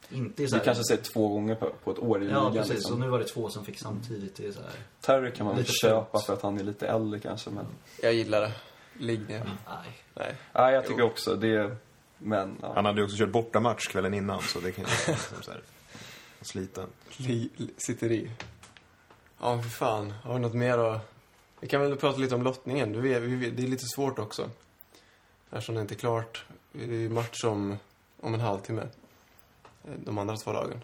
Inte i så
Vi
här,
kanske ser två gånger på, på ett år i
Ja,
ligan.
precis. Och
Liksom.
nu var det två som fick samtidigt. Det är så här...
Terry kan man väl
Lite
köpa
fult.
för att han är lite äldre kanske. Men...
Jag gillar det. Ligg ner.
Mm.
Nej.
Nej.
Nej, jag tycker också det. Men ja.
Han hade ju också kört bortamatch kvällen innan, så det kan ju vara liksom så här, sliten.
Li, li, sitter i. Ja, för fan. Har vi något mer att... Vi kan väl prata lite om lottningen. Du vet, vi, vet- det är lite svårt också. Eftersom det inte är klart. Det är ju match om, om en halvtimme. Eh, De andra två lagen.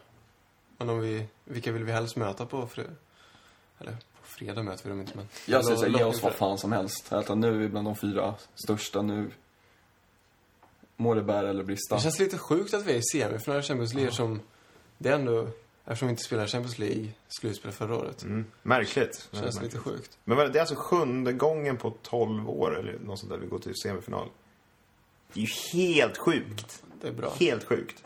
Men om vi, vilka vill vi helst möta på fredag? Eller på fredag möter vi dem inte, men...
Jag säger
Lo-
såhär, ge
lottning
oss vad
fredag.
fan som helst. Alltså, nu är vi bland de fyra största nu. Må det bära eller brista.
Det känns lite sjukt att vi är i semifinal i Champions League som... Det är ändå... Eftersom vi inte spelar Champions League slutspel förra året.
Mm. Märkligt.
Det känns lite sjukt.
Men vad är det? det är alltså sjunde gången på 12 år, eller något sånt där, vi går till semifinal. Det är ju helt sjukt.
Det är bra.
Helt sjukt.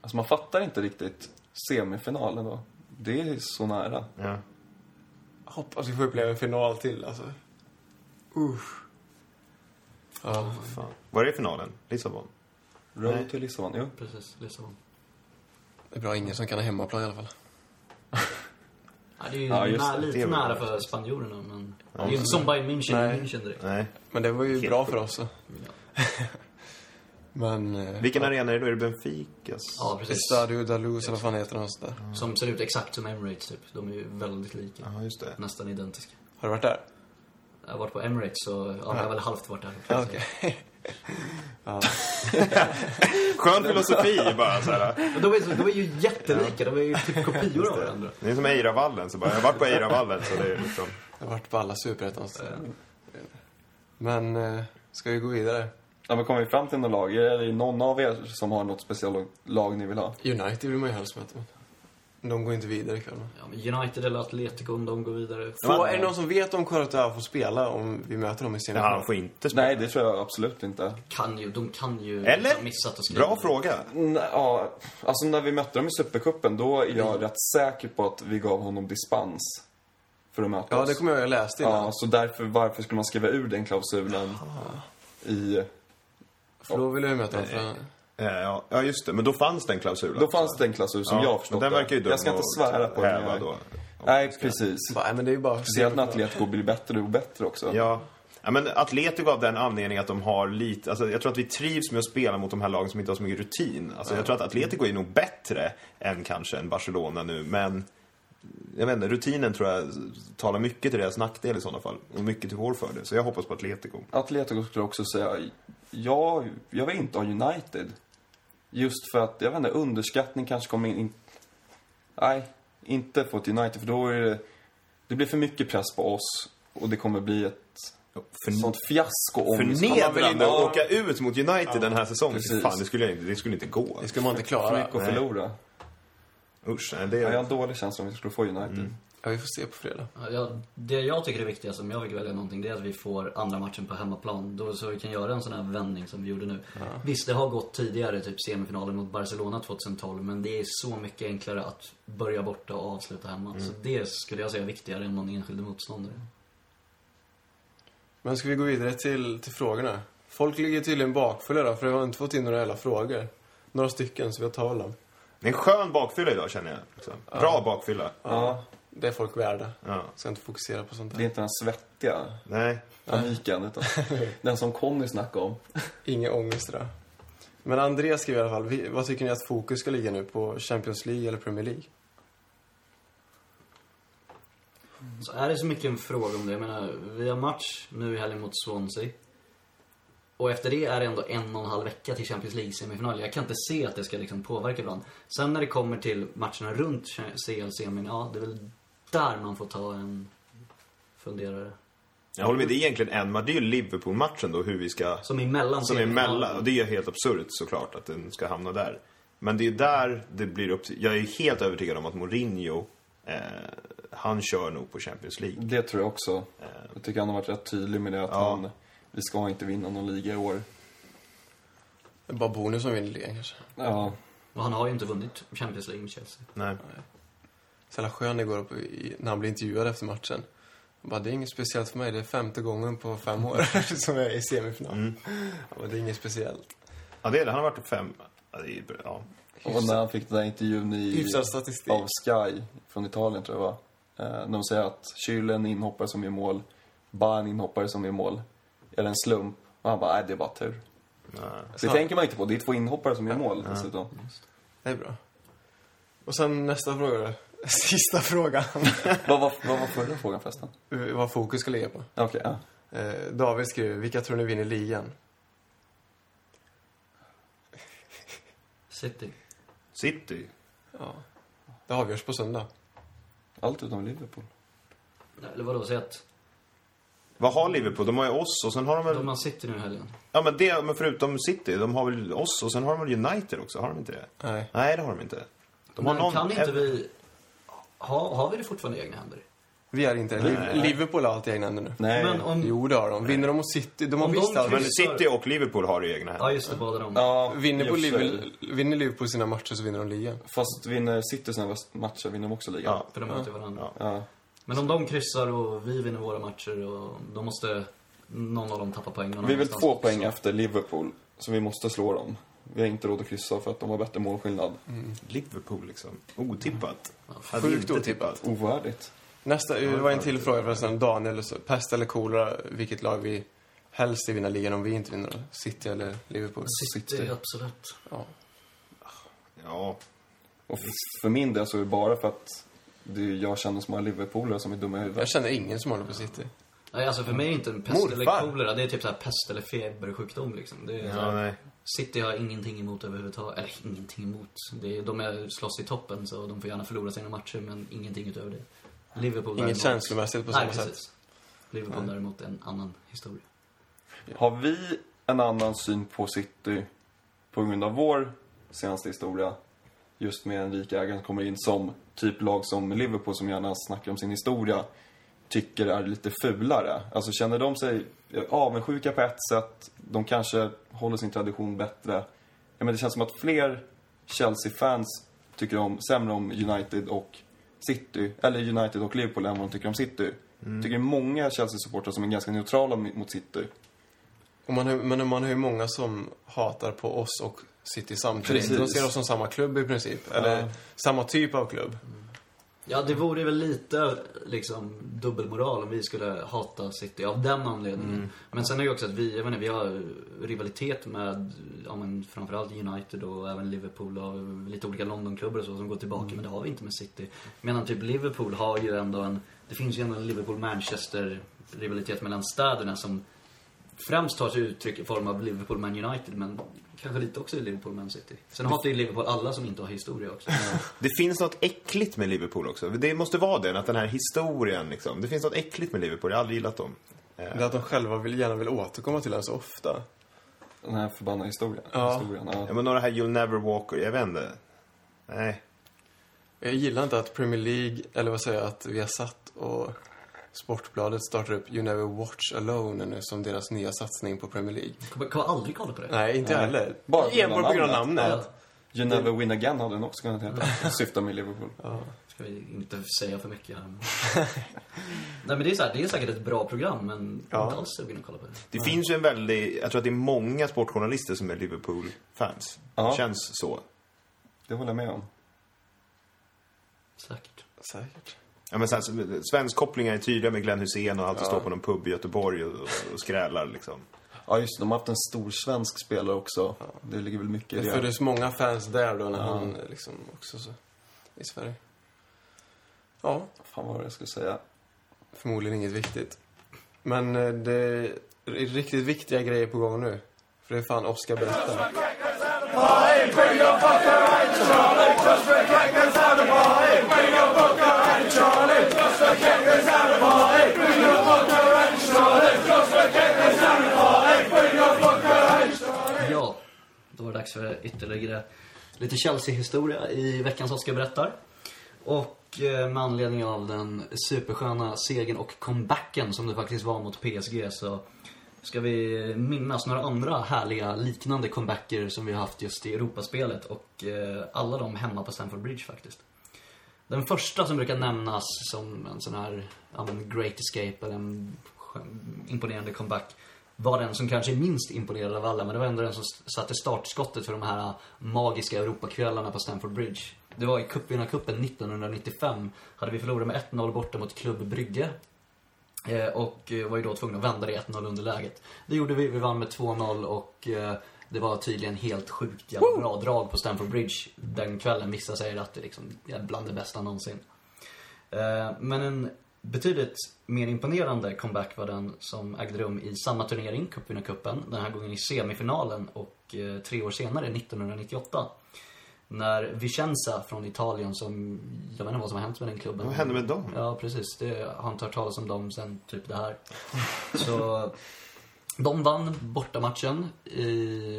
Alltså man fattar inte riktigt semifinalen då. Det är så nära.
Ja.
Hoppas vi får uppleva en final till alltså. Usch. Ja,
Fan. Var är finalen? Lissabon?
Road
Nej.
till Lissabon. Jo.
Precis, Lissabon.
det är bra ingen som kan ha hemmaplan i alla fall.
Ja, det är ju
Ja, just
nä-
det.
lite
Det är väl
nära
bra.
för spanjorerna, men... det är ju inte som Bayern München,
Nej.
München direkt.
Nej.
Men det var ju
Helt
bra
sjukt.
för oss. så. Men... eh,
Vilken arena är det då? Är det Benficas?
Ja, precis.
Estadio da Luz eller vad fan heter den och sånt där.
Som ser ut exakt som Emirates, typ. De är ju väldigt lika.
Ja, just det.
Nästan identiska.
Har du varit där?
Jag har varit på Emirates så ja, jag har väl halvt varit där.
Ja, okej.
Skön filosofi bara så här.
Men de är, de är ju jättelika, de är ju typ kopior av varandra.
Det är som Eiravallen, så bara, jag har varit på Eiravallen så det är liksom...
Jag har varit på alla superettans. Men, eh, ska vi gå vidare?
Ja, men kommer vi fram till några lag? Är det någon av er som har något speciellt lag ni vill ha?
United vill man ju helst möta. men De går inte vidare ikväll. va?
Ja, men United eller Atletico om de går vidare.
Få, är det någon som vet om Courtois får spela om vi möter dem i
Ja,
semifinal?
han får inte spela.
Nej, det tror jag absolut inte.
Kan ju, de kan ju liksom
Eller?
ha missat att skriva.
Bra fråga.
N- Ja, alltså när vi mötte dem i Supercupen, då är jag rätt säker på att vi gav honom dispens. För att möta
Ja,
oss.
det kommer jag jag läste innan.
Ja, så därför, varför skulle man skriva ur den klausulen i...
För då vill jag ju möta dem. För...
Eh, ja, ja, just det. Men då fanns den klausulen.
Då fanns det en klausul som
Ja,
jag har förstått
men den
det.
verkar ju dum
Jag ska inte
att
svära på den.
häva
jag-
då.
Nej, precis.
Bara, nej, men det är ju bara...
Speciellt när Atletico blir bättre och bättre också.
Ja. Ja, men Atletico av den anledningen att de har lite, alltså jag tror att vi trivs med att spela mot de här lagen som inte har så mycket rutin. Alltså jag tror att Atletico är nog bättre än kanske en Barcelona nu, men jag vet inte, rutinen tror jag talar mycket till deras nackdel i sådana fall. Och mycket till vår fördel, så jag hoppas på Atletico.
Atletico skulle jag också säga, ja, jag vill inte ha United. Just för att, jag vet inte, underskattning kanske kommer in. in nej, inte få ett United för då är det, det blir för mycket press på oss och det kommer bli ett
För,
sånt fiasko om vi ska- Man vill
förnedrande
inte
att
åka-
åka ut mot United den här säsongen.
precis.
Fan, det skulle, jag, inte- det skulle inte gå.
Det skulle man inte
för
klara.
mycket att
Nej.
förlora.
Usch, nej, det
Ja, jag
är...
har en dålig känsla om vi skulle få United.
Mm.
Ja, vi får se på fredag.
Ja, jag, det jag tycker är viktigast, om jag vill välja någonting, det är att vi får andra matchen på hemmaplan. Då, så vi kan göra en sån här vändning som vi gjorde nu. Visst, det har gått tidigare, typ semifinalen mot Barcelona 2012, men det är så mycket enklare att börja borta och avsluta hemma. Så det skulle jag säga är viktigare än någon enskild motståndare.
Men ska vi gå vidare till, till frågorna? Folk ligger tydligen bakfulla då, för vi har inte fått in några hela frågor. Några stycken, så vi har tagit dem.
Det är en skön bakfylla idag känner jag. Liksom. Bra bakfylla.
Ja,
Det är folk värda.
Ja.
Ska inte fokusera på sånt
det är
där.
inte den svettiga
Nej.
paniken utan den som Conny snackade om.
Ingen ångest idag. Men Andreas skriver i alla fall, vi- vad tycker ni att fokus ska ligga nu på Champions League eller Premier League?
Så är det så mycket en fråga om det. Jag menar, vi har match nu i helgen mot Swansea. Och efter det är det ändå en och en halv vecka till Champions League-semifinal. Jag kan inte se att det ska liksom påverka varandra. Sen när det kommer till matcherna runt CL-semin, ja, det är väl där man får ta en funderare.
Jag håller med, det är egentligen en match. Det är ju Liverpool-matchen då, hur vi ska...
Som är mellan
Som är
semifinalen.
mellan. Och det är ju helt absurt såklart att den ska hamna där. Men det är ju där det blir upp till- Jag är helt övertygad om att Mourinho, eh, han kör nog på Champions League.
Det tror jag också. Jag tycker han har varit rätt tydlig med det att
Ja.
han, vi ska inte vinna någon liga i år.
Det är bara Bonus som vinner ligan kanske.
Ja,
Och han har ju inte vunnit Champions League med Chelsea.
Nej.
Så jävla skön igår på, i, när han blev intervjuad efter matchen. Han bara, det är inget speciellt för mig. Det är femte gången på fem år som jag är i semifinal.
Mm.
Han bara, det är inget speciellt.
Ja, det är det. Han har varit på fem... Ja, det är, ja.
och när han fick den där intervjun i,
Hyfsad statistik.
av Sky från Italien tror jag var. Eh, när de säger att Schürrle är en inhoppare som gör mål, Ba är en inhoppare som gör mål. Är det en slump? Och han bara, nej det är bara tur.
Nej.
Alltså,
Det tänker man inte på, det är två inhoppare som gör mål dessutom.
Det är bra. Och sen nästa fråga då. Sista frågan. Eh,
Vad var, vad var förra frågan förresten?
Vad fokus ska ligga på.
Okej, ja.
Eh, David skriver, vilka tror ni vinner ligan?
City.
City.
Ja. Det avgörs på söndag.
Allt utom Liverpool.
Eller vadå, säg att
Vad har Liverpool? De har ju oss och sen har de väl...
de har City nu i helgen.
Ja, men, det, men förutom City, de har väl oss och sen har de väl United också? Har de inte det?
Nej.
Nej, det har de inte. De har
Men
någon...
kan inte vi... Ha, har vi det fortfarande i egna händer?
Vi är inte Liv- Liverpool har allt i egna händer nu.
Nej.
Men om...
Jo, det har de. Vinner de mot City, de har
Om de
visst allt.
Men City och Liverpool har det i egna händer.
Ja, just det, båda de.
ja,
Vinner, på
i och för sig.
Liverpool, vinner Liverpool sina matcher så vinner de ligan.
Fast vinner City sina matcher vinner de också ligan.
Ja.
För de möter varandra.
Ja.
Ja.
Men om de kryssar och vi vinner våra matcher, och då måste någon av dem tappa poäng någon
Vi är väl
annanstans
två
också.
poäng efter Liverpool, så vi måste slå dem. Vi har inte råd att kryssa för att de har bättre målskillnad.
Mm.
Liverpool liksom. Otippat. Hade
Sjukt
inte
otippat.
Ovärdigt.
Nästa, det var en till fråga förresten. Daniel, så pest eller kolera, vilket lag vi helst vill vinna ligan om vi inte vinner då? City eller Liverpool?
City,
City.
absolut.
Ja.
Ja.
Och f- för min del så är det bara för att det är jag känner som har Liverpoolare som är dumma i
Jag
huvudet.
känner ingen som håller på City.
Nej, alltså för mig är inte en pest
Morfar.
eller kolera, det är typ så här pest eller febersjukdom liksom. Det är så
ja
här,
nej.
City har ingenting emot överhuvudtaget, eller ingenting emot. Det är, de är, slåss i toppen så de får gärna förlora sina matcher, men ingenting utöver det. Liverpool
Inget känslomässigt på samma
Nej,
sätt.
precis. Liverpool däremot är en annan historia.
Har vi en annan syn på City på grund av vår senaste historia? Just med en rik ägare som kommer in som typ lag som Liverpool som gärna snackar om sin historia tycker är lite fulare. Alltså känner de sig avundsjuka på ett sätt, de kanske håller sin tradition bättre. Ja, men det känns som att fler Chelsea-fans tycker om, sämre om United och City, eller United och Liverpool än vad de tycker om City. Jag tycker det är många Chelsea-supportrar som är ganska neutrala mot City.
Och man, har- men man har ju många som hatar på oss och City samtidigt.
Precis.
De ser oss som samma klubb i princip. Eller samma typ av klubb.
Ja, det vore väl lite liksom dubbelmoral om vi skulle hata City av den anledningen. Men sen är det ju också att vi, jag vet inte, vi har rivalitet med, ja men framförallt United och även Liverpool och lite olika Londonklubbar och så som går tillbaka, men det har vi inte med City. Medan typ Liverpool har ju ändå en, det finns ju ändå en Liverpool-Manchester-rivalitet mellan städerna som främst tar sig uttryck i form av Liverpool-Man United, men kanske lite också i Liverpool-Man City. Sen hatar ju Liverpool alla som inte har historia också.
Det finns något äckligt med Liverpool också. Det måste vara det, att den här historien liksom. Det finns något äckligt med Liverpool, jag har aldrig gillat dem.
Det är att de själva vill, gärna vill återkomma till den så ofta.
Den här förbannade historien.
Ja.
historien ja.
Ja, men några här You'll Never Walk, jag vet inte. Nej.
Jag gillar inte att Premier League, eller vad säger jag, att vi har satt och Sportbladet startar upp You Never Watch Alone nu som deras nya satsning på Premier League.
Kommer, kommer aldrig kolla på det.
Nej, inte jag heller.
Bara på grund av
Enbart på grund av
namnet.
namnet.
You never win again hade den också kunnat heta. Syftar med Liverpool.
Ska vi inte säga för mycket här. men- Nej men det är, så här, det är säkert ett bra program men
Ja.
inte alls sugen att kolla på det.
Det finns ju en väldigt, jag tror att det är många sportjournalister som är Liverpool-fans.
Ja.
Det känns så.
Det håller jag med om.
Säkert.
Säkert.
Ja, men så här, svensk kopplingar är tydliga med Glenn Hussein och alltid står på någon pub i Göteborg och, och skrälar liksom.
Ja, just det, De har haft en stor svensk spelare också. Det ligger väl mycket i
Det
det.
föddes många fans där då när han liksom också så, i Sverige. Ja,
Fan vad var det jag skulle säga.
förmodligen inget viktigt. Men eh, det är riktigt viktiga grejer på gång nu. För det är fan Oscar berättar.
Ja, då var det dags för ytterligare lite Chelsea-historia i veckans Oscar berättar. Och eh, med anledning av den supersköna segern och comebacken som det faktiskt var mot PSG så ska vi minnas några andra härliga liknande comebacker som vi har haft just i Europaspelet och eh, alla de hemma på Stamford Bridge faktiskt. Den första som brukar nämnas som en sån här ja, men great escape eller en skön- imponerande comeback var den som kanske är minst imponerad av alla men det var ändå den som s- satte startskottet för de här äh, magiska Europakvällarna på Stamford Bridge. Det var i cupvinnarcupen 1995 hade vi förlorat med 1-0 borta mot Klubb Brygge. Eh, Och eh, var ju då tvungna att vända det 1-0 underläget. Det gjorde vi, vi vann med 2-0 och eh, det var tydligen helt sjukt jävla bra drag på Stamford Bridge den kvällen. Vissa säger att det liksom är bland det bästa någonsin. Eh, Men en betydligt mer imponerande comeback var den som ägde rum i samma turnering, cupvinnarcupen, den här gången i semifinalen och eh, tre år senare, 1998. När Vicenza från Italien, som jag vet inte vad som har hänt med den klubben.
Vad hände med dem?
Ja, precis. Det har inte hört talas om dem sen typ det här. Så de vann bortamatchen i,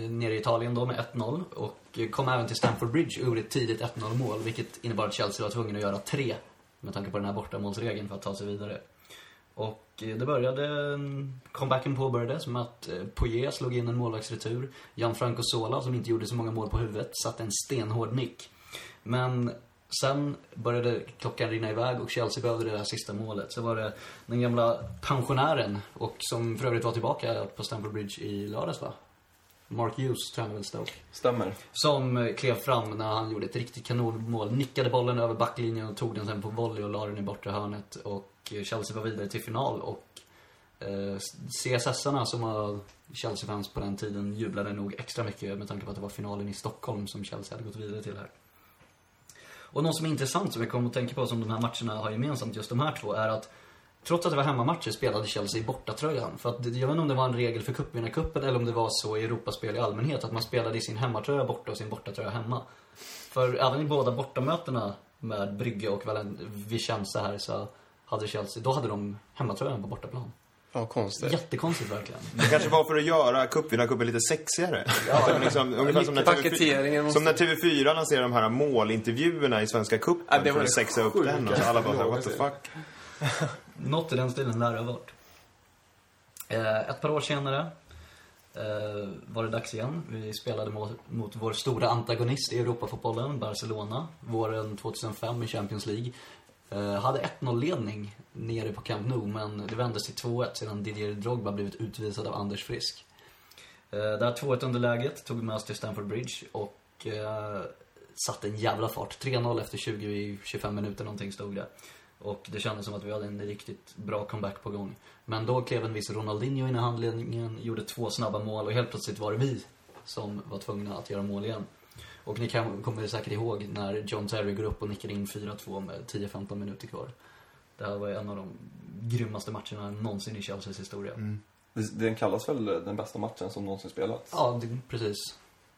nere i Italien då med 1-0 och kom även till Stamford Bridge och gjorde ett tidigt 1-0 mål vilket innebar att Chelsea var tvungen att göra tre med tanke på den här bortamålsregeln för att ta sig vidare. Och eh, det började, mm, comebacken påbörjades med att eh, Poyet slog in en målvaktsretur. Gianfranco Sola, som inte gjorde så många mål på huvudet, satte en stenhård nick. Men sen började klockan rinna iväg och Chelsea behövde det där sista målet. Så var det den gamla pensionären, och som för övrigt var tillbaka på Stamford Bridge i lördags va? Mark Hughes tränade väl Stoke.
Stämmer.
Som eh, klev fram när han gjorde ett riktigt kanonmål. Nickade bollen över backlinjen och tog den sen på volley och la den i bortre hörnet. Och eh, Chelsea var vidare till final och eh, CSS-arna som var Chelsea-fans på den tiden jublade nog extra mycket med tanke på att det var finalen i Stockholm som Chelsea hade gått vidare till här. Och något som är intressant som jag kom att tänka på som de här matcherna har gemensamt, just de här två, är att trots att det var hemmamatcher spelade Chelsea i bortatröjan. För att, jag vet inte om det var en regel för cupvinnarcupen eller om det var så i Europaspel i allmänhet, att man spelade i sin hemmatröja borta och sin bortatröja hemma. För även i båda bortamötena med Brygge och Valen- Vicenza här så hade Chelsea, då hade de hemmatröjan på bortaplan.
Ja, konstigt.
Jättekonstigt verkligen.
Det kanske var för att göra cupvinnarcupen lite sexigare. Att det var liksom, ungefär som när,
Paketeringen
TV4,
måste-
som när TV4 lanserade de här målintervjuerna i Svenska cupen
Ja, det var
för
det
att sexa upp den. Och
sjukaste
alla bara så här, what the
någonsin."
fuck.
Något i den stilen lär det ha varit. Eh, ett par år senare eh, var det dags igen. Vi spelade mot, mot vår stora antagonist i Europafotbollen, Barcelona, våren 2005 i Champions League. Eh, hade 1-0-ledning nere på Camp Nou, men det vändes till 2-1 sedan Didier Drogba blivit utvisad av Anders Frisk. Eh, Det här 2-1 underläget tog vi med oss till Stamford Bridge och eh, satte en jävla fart. 3-0 efter 20-25 minuter någonting stod det. Och det kändes som att vi hade en riktigt bra comeback på gång. Men då klev en viss Ronaldinho in i handledningen, gjorde två snabba mål och helt plötsligt var det vi som var tvungna att göra mål igen. Och ni kan, kommer säkert ihåg när John Terry går upp och nickar in 4-2 med 10-15 minuter kvar. Det här var en av de grymmaste matcherna någonsin i Chelseas historia.
Det- Den kallas väl den bästa matchen som någonsin spelats?
Ja, det, precis.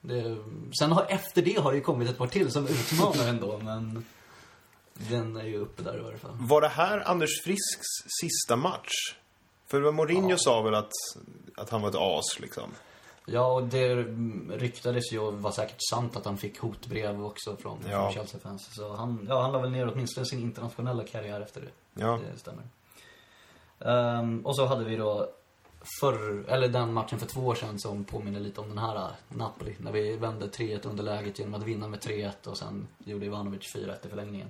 Det, sen har, efter det har det ju kommit ett par till som utmanar ändå, men den är ju uppe där i varje fall.
Var det här Anders Frisks sista match? För vad Mourinho sa väl att, att han var ett as, liksom.
Ja, och det mm, ryktades ju och var säkert sant att han fick hotbrev också från,
Ja.
från Chelsea-fans. Så han, ja, han la väl ner åtminstone sin internationella karriär efter det.
Ja.
Det stämmer. Ehm, och så hade vi då förr, eller den matchen för två år sedan som påminner lite om den här eh, Napoli. När vi vände 3-1 underläget genom att vinna med 3-1 och sen gjorde Ivanovic 4-1 i förlängningen.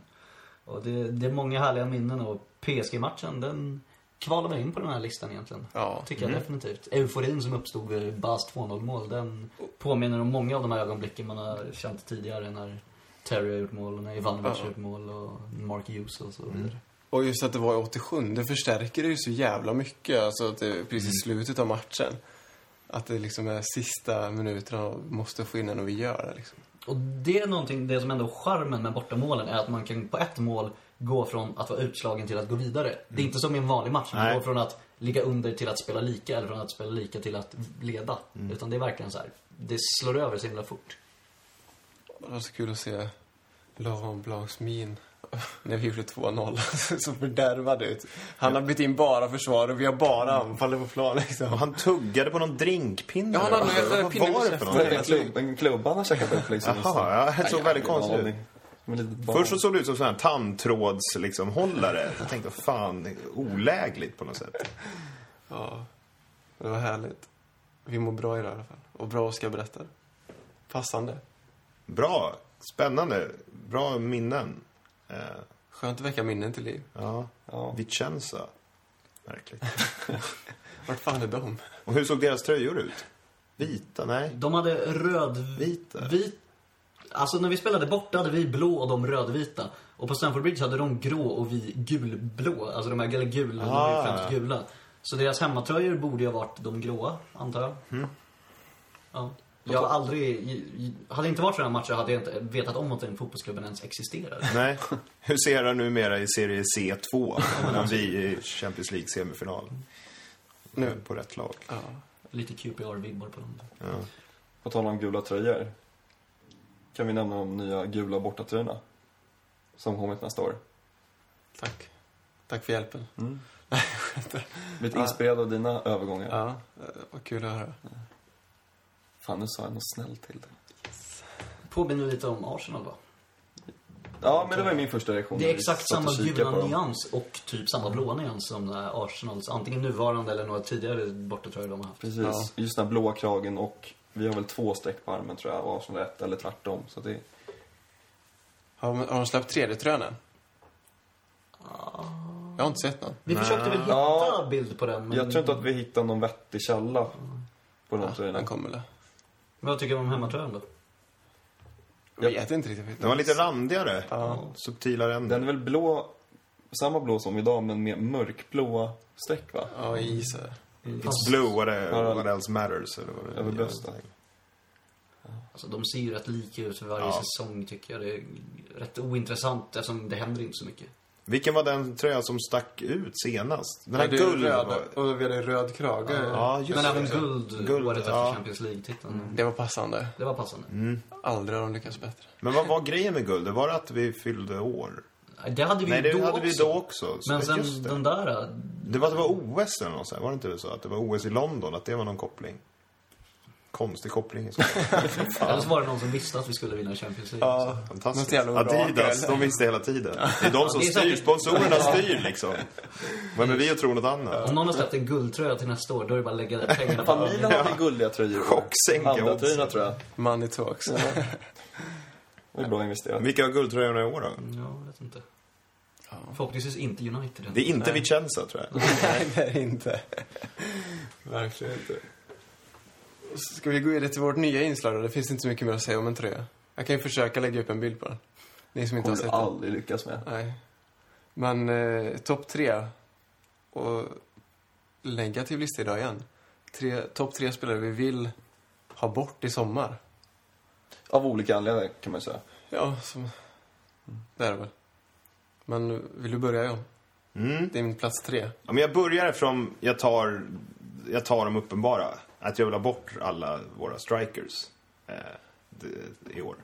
Och det, det är många härliga minnen och PSG-matchen den kvalar väl in på den här listan egentligen.
Ja.
Tycker jag definitivt. Euforin som uppstod vid Bas 2-0 mål den påminner om många av de här ögonblicken man har känt tidigare när Terry har gjort mål och när Ivanovic har gjort mål och Mark Hughes och så vidare.
Och just att det var i 87, det förstärker det ju så jävla mycket. Alltså att det är precis i slutet av matchen. Att det liksom är sista minuterna och måste få in den och vi gör det liksom.
Och det är någonting, det som ändå är charmen med bortamålen är att man kan på ett mål gå från att vara utslagen till att gå vidare. Det är inte som i en vanlig match, man
Nej.
går från att ligga under till att spela lika eller från att spela lika till att leda. Utan det är verkligen så här, det slår över så himla fort.
Och det var så kul att se Laurent Blancs min när vi gjorde 2-0. så fördärvad ut. Han har bytt in bara försvar och vi har bara
Mm.
anfallet på plan
Och
liksom.
han tuggade på någon drinkpinne.
Ja, han hade
eller
en jävla
vad
pinne
var
vid
det för
käften.
Det är en
något?
klubb- En klubba han har käkat upp liksom.
Jaha, ja, det såg väldigt konstigt ut.
ut.
Först så såg det ut som sån här tandtråds, liksom, hållare. Jag tänkte, fan, olägligt på något sätt.
Ja, det var härligt. Vi mår bra idag i alla fall. Och bra Oskar berättar. Passande.
Bra, spännande, bra minnen. Eh,
Skönt att väcka minnen till liv.
ja,
Ja.
Vicenza. Märkligt.
Vart fan är de?
Och hur såg deras tröjor ut? Vita? Nej.
De hade röd...
Vita.
Vit... Alltså när vi spelade borta hade vi blå och de rödvita. Och på Stamford Bridge hade de grå och vi gulblå. Alltså de här, eller gul, de är
Ah.
ju främst gula. Så deras hemmatröjor borde ju ha varit de gråa, antar jag. Ja. Jag har aldrig... Hade det inte varit sådana här matcher hade jag inte vetat om att den fotbollsklubben ens existerar.
Nej. Hur ser det numera i serie C2? När vi är i Champions League semifinal. Nu. På rätt lag.
Ja.
Lite QPR-vibbar på dem.
Ja.
På tal om gula tröjor. Kan vi nämna de nya gula bortatröjorna? Som kommit nästa år.
Tack. Tack för hjälpen.
Mm.
Nej, jag skämtar.
Blivit
Ja.
inspirerad av dina övergångar.
Ja, eh, vad kul att höra.
Fan, nu sa jag något snällt till dig.
Påminner lite om Arsenal va?
Ja, men det var ju min första reaktion.
Det
när
är
vi
exakt
satt och
samma
kikade
gula
på dem.
nyans och typ samma blåa nyans som eh, Arsenals. Antingen nuvarande eller några tidigare bortatröjor de har haft.
Precis. Just den här blåa kragen och vi har väl två streck på armen tror jag. Och Arsenal har ett eller tvärtom. Så det,
Har de, har de släppt 3D-trön än? Jag har inte sett någon.
Vi försökte väl hitta
Ja.
bild på den, men
Jag tror inte att vi hittar någon vettig källa på de tröjorna.
Den kommer väl?
men jag tycker om hemmatröjan då.
Jag vet inte riktigt.
Den var lite randigare.
Ja.
Subtila ränder.
Den är väl blå, samma blå som idag men med mörkblåa streck va?
Ja, i is. eh.
Fast,
It's blue, what, eh,
Ja.
what else matters? Eller vad det
Över brösten.
alltså, de ser ju rätt lika ut för varje
Ja.
säsong tycker jag. Det är rätt ointressant eftersom det händer inte så mycket.
Vilken var den tröja som stack ut senast? Den här
Ja, det är
guld...
röd,
var-
och vi hade röd krage.
Ja, just
men
det.
även guld,
Guld,
året efter
ja. Mm.
Champions League-titeln.
Mm.
Det var passande.
Det var passande.
Aldrig har de lyckats bättre.
Men vad var grejen med guld? Var det att vi fyllde år?
Det hade vi
Nej,
ju
det
då
hade
också.
vi då också. Så
Men sen
just det.
den där, eh,
det var att det var OS eller något sånt. Var det inte så? Att det var OS i London, att det var någon koppling? Konstig koppling i så fall.
eller så var det någon som visste att vi skulle vinna Champions League. också.
Fantastiskt.
Något jävla orakel.
Adidas, de visste hela tiden. Det är de som
det är
styr,
säkert-
sponsorerna styr liksom. Vem är vi att tro något annat?
Om någon har släppt en guldtröja till nästa år, då är det bara att lägga pengarna på
Fan,
den.
Milan hade guldiga tröjor.
Chocksänka
Andra
oddsen.
tröjorna tror jag.
Money talks.
Det är bra investerat.
Vilka har guldtröjorna i år då?
Ja, jag vet inte. Förhoppningsvis inte United.
Det är inte Vicenza tror jag.
Nej, det är det inte. Verkligen inte. Ska vi gå vidare till vårt nya inslag då? Det finns inte så mycket mer att säga om en tröja. Jag kan ju försöka lägga upp en bild på den. Ni som inte har
kommer
sett
du
den.
aldrig lyckas med.
Nej. Men eh, topp tre. Och negativ lista idag igen. Tre- Topp tre spelare vi vill ha bort i sommar.
Av olika anledningar kan man ju säga.
Ja, som... mm, det är det väl. Men vill du börja, John?
Mm.
Det är min plats tre.
Ja, men jag börjar från, jag tar, jag tar de uppenbara. Att jag vill ha bort alla våra strikers eh, d- i år.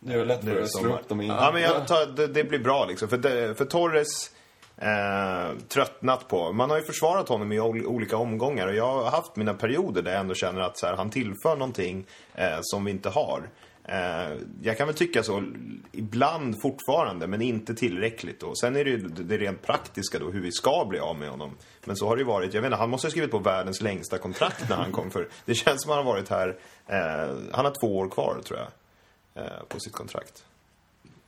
Det är väl lätt
Nu är
för
det
att slå
sommar.
upp dem i...
Ja, men jag tar, det, det blir bra liksom. För, det, för Torres eh, tröttnat på. Man har ju försvarat honom i ol, olika omgångar och jag har haft mina perioder där jag ändå känner att så här, han tillför någonting eh, som vi inte har. Eh, jag kan väl tycka så ibland fortfarande, men inte tillräckligt. Då. Sen är det ju det det rent praktiska då, hur vi ska bli av med honom. Men så har det ju varit. Jag vet inte, han måste ha skrivit på världens längsta kontrakt när han kom. För det känns som han har varit här, eh, han har två år kvar tror jag, eh, på sitt kontrakt.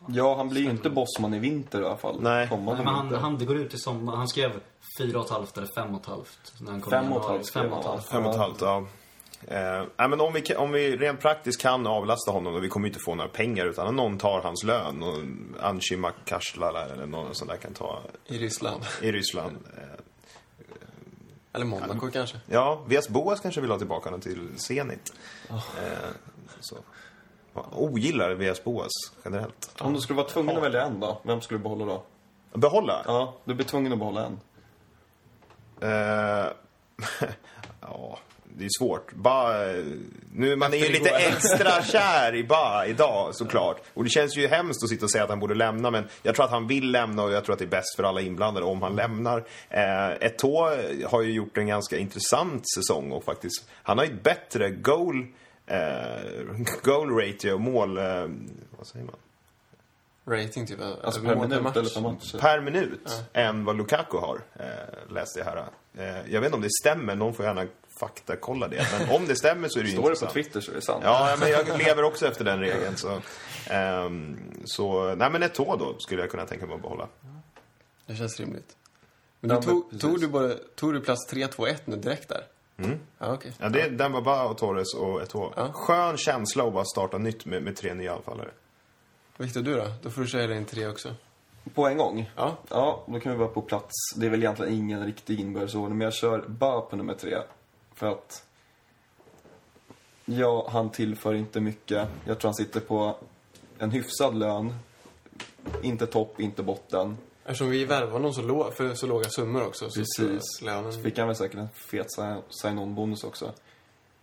Ja, han blir ju inte bossman i vinter i alla fall.
Nej.
Kommande
Nej, men han,
vinter.
han, det går ut i sommar. Han skrev fyra och ett halvt eller fem och ett halvt. När han kom
Fem
i
och ett
januari.
halvt skrev
Fem och ett
han,
halvt.
va?
Fem och ett halvt, ja. Eh, nej, men om, vi, kan- om vi rent praktiskt kan avlasta honom då, vi kommer ju inte få några pengar utan någon tar hans lön. Och Anshi Makashlala eller någon sån där kan ta
I Ryssland.
i Ryssland. Eh,
Eller Monaco kanske.
ja, Vias Boas kanske vill ha tillbaka honom till Zenit. Eh, så. Jag Ogillar Vias Boas generellt.
Om du skulle vara tvungen att välja en då, vem skulle du behålla då?
Behålla?
Ja, du blir tvungen att behålla en.
Eh, ja, det är svårt. Ba, eh, nu, man är ju lite extra kär i Ba idag såklart. Och det känns ju hemskt att sitta och säga att han borde lämna men jag tror att han vill lämna och jag tror att det är bäst för alla inblandade om han lämnar. Eh, Eto'o har ju gjort en ganska intressant säsong och faktiskt, han har ju ett bättre goal, eh, goal ratio, mål, eh, vad säger man?
Rating typ.
Alltså per minut eller per match.
per minut än vad Lukaku har, eh, läste jag här. Eh, jag vet inte om det stämmer, någon får gärna faktakolla det. Men om det stämmer så är det ju
Står det på
intressant.
Twitter så är det sant.
Ja, men jag lever också efter den regeln. Så, ehm, så nej men ett tå då skulle jag kunna tänka mig att behålla.
Det känns rimligt. Men
Ja,
du
men
tog,
precis.
tog, du bara, tog du plats 3, 2, 1 nu direkt där? Mm. Ja, okej.
Ja, det är Dembaba och Torres och ett tå. Skön känsla att bara starta nytt med, med tre nya anfallare.
Viktor, du då? Då får du köra din tre också.
På en gång?
Ja.
Ja, då kan vi vara på plats. Det är väl egentligen ingen riktig inbördesordning, men jag kör bara på nummer tre. För att... Ja, han tillför inte mycket. Jag tror han sitter på en hyfsad lön. Inte topp, inte botten.
Eftersom vi värvar någon så lå, för så låga summor också. Så
Precis.
Så lönen...
Så fick han väl säkert en fet sign- sign-on-bonus också.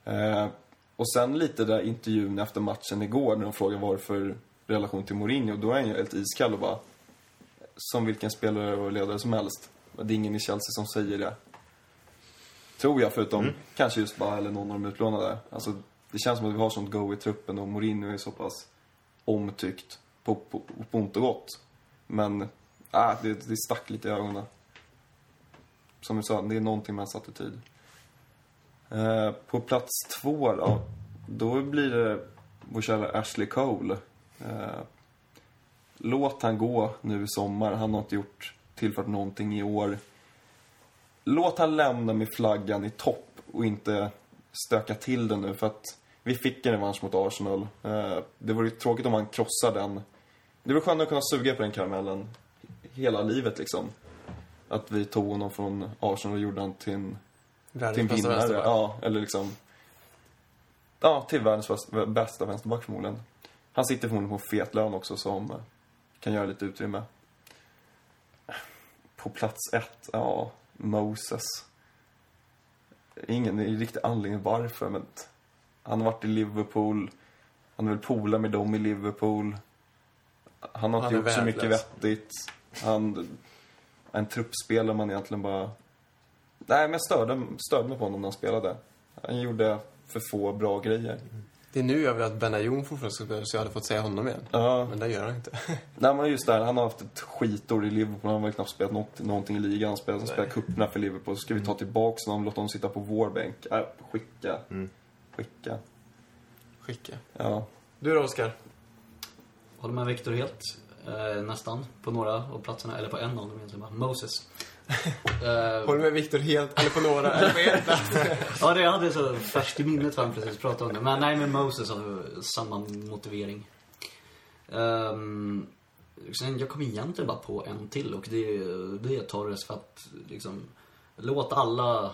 Eh, och sen lite där intervjun efter matchen igår när de frågade vad det är för relation till Mourinho. Då är han ju helt iskall och bara... Som vilken spelare och ledare som helst. Det är ingen i Chelsea som säger det. Tror jag, förutom kanske just bara eller någon av de utlånade. Alltså, det känns som att vi har sånt go i truppen och Mourinho är så pass omtyckt på, på, på ont och gott. Men äh, det, det stack lite i ögonen som du sa, det är någonting med hans attityd. Eh, på plats två då, då blir det vår kära Ashley Cole. Eh, låt han gå nu i sommar. Han har inte gjort, tillfört någonting i år. Låt han lämna med flaggan i topp och inte stöka till den nu för att vi fick en revansch mot Arsenal. Eh, det vore ju tråkigt om han krossar den. Det vore skönt att kunna suga på den karamellen hela livet liksom att vi tog honom från Arsenal och gjorde honom till en, till en
Världens bästa
vinnare.
vänsterback.
Ja, eller liksom... Ja, till världens bäst- bästa vänsterback förmodligen. Han sitter förmodligen på en fet lön också som eh, kan göra lite utrymme. På plats ett, ja, Moses. Ingen riktig anledning varför, men t- han har varit i Liverpool. Han är väl polare med dem i Liverpool. Han har
Han
inte
är
gjort så mycket
värdelös.
vettigt. Han är en truppspelare man egentligen bara... Nej, men jag störde, störde mig på honom när han spelade. Han gjorde för få bra grejer.
Det är nu jag vill att Benayoun fortfarande ska spela, så jag hade fått säga honom igen.
Ja.
Men det gör han inte.
Nej, men just där, han har haft ett skitår i Liverpool. Han har väl knappt spelat något, någonting i ligan. Han spelar, han spelar cuperna för Liverpool. Så ska
Mm.
vi ta tillbaks någon, låta honom sitta på vår bänk. Äh, skicka.
Mm.
Skicka.
Skicka.
Ja.
Du då, Oskar?
Håller med Viktor helt. Eh, nästan. På några av platserna, eller på en av dem egentligen bara. Moses. Eh,
Håller med Viktor helt, eller på några, eller på en plats.
ja, det jag hade så färskt i minnet vad han precis pratade om det. Men nej, men Moses har samma motivering. Ehm, sen, jag kom egentligen bara på en till och det, det är Torres för att liksom, låt alla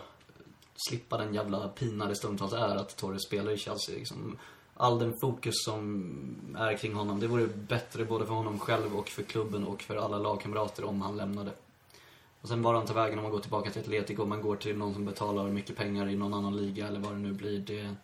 slippa den jävla pina det stundtals är att Torres spelar i Chelsea. Liksom, all den fokus som är kring honom, det vore bättre både för honom själv och för klubben och för alla lagkamrater om han lämnade. Och sen var han tar vägen om man går tillbaka till Atletico, om man går till någon som betalar mycket pengar i någon annan liga eller vad det nu blir. Det är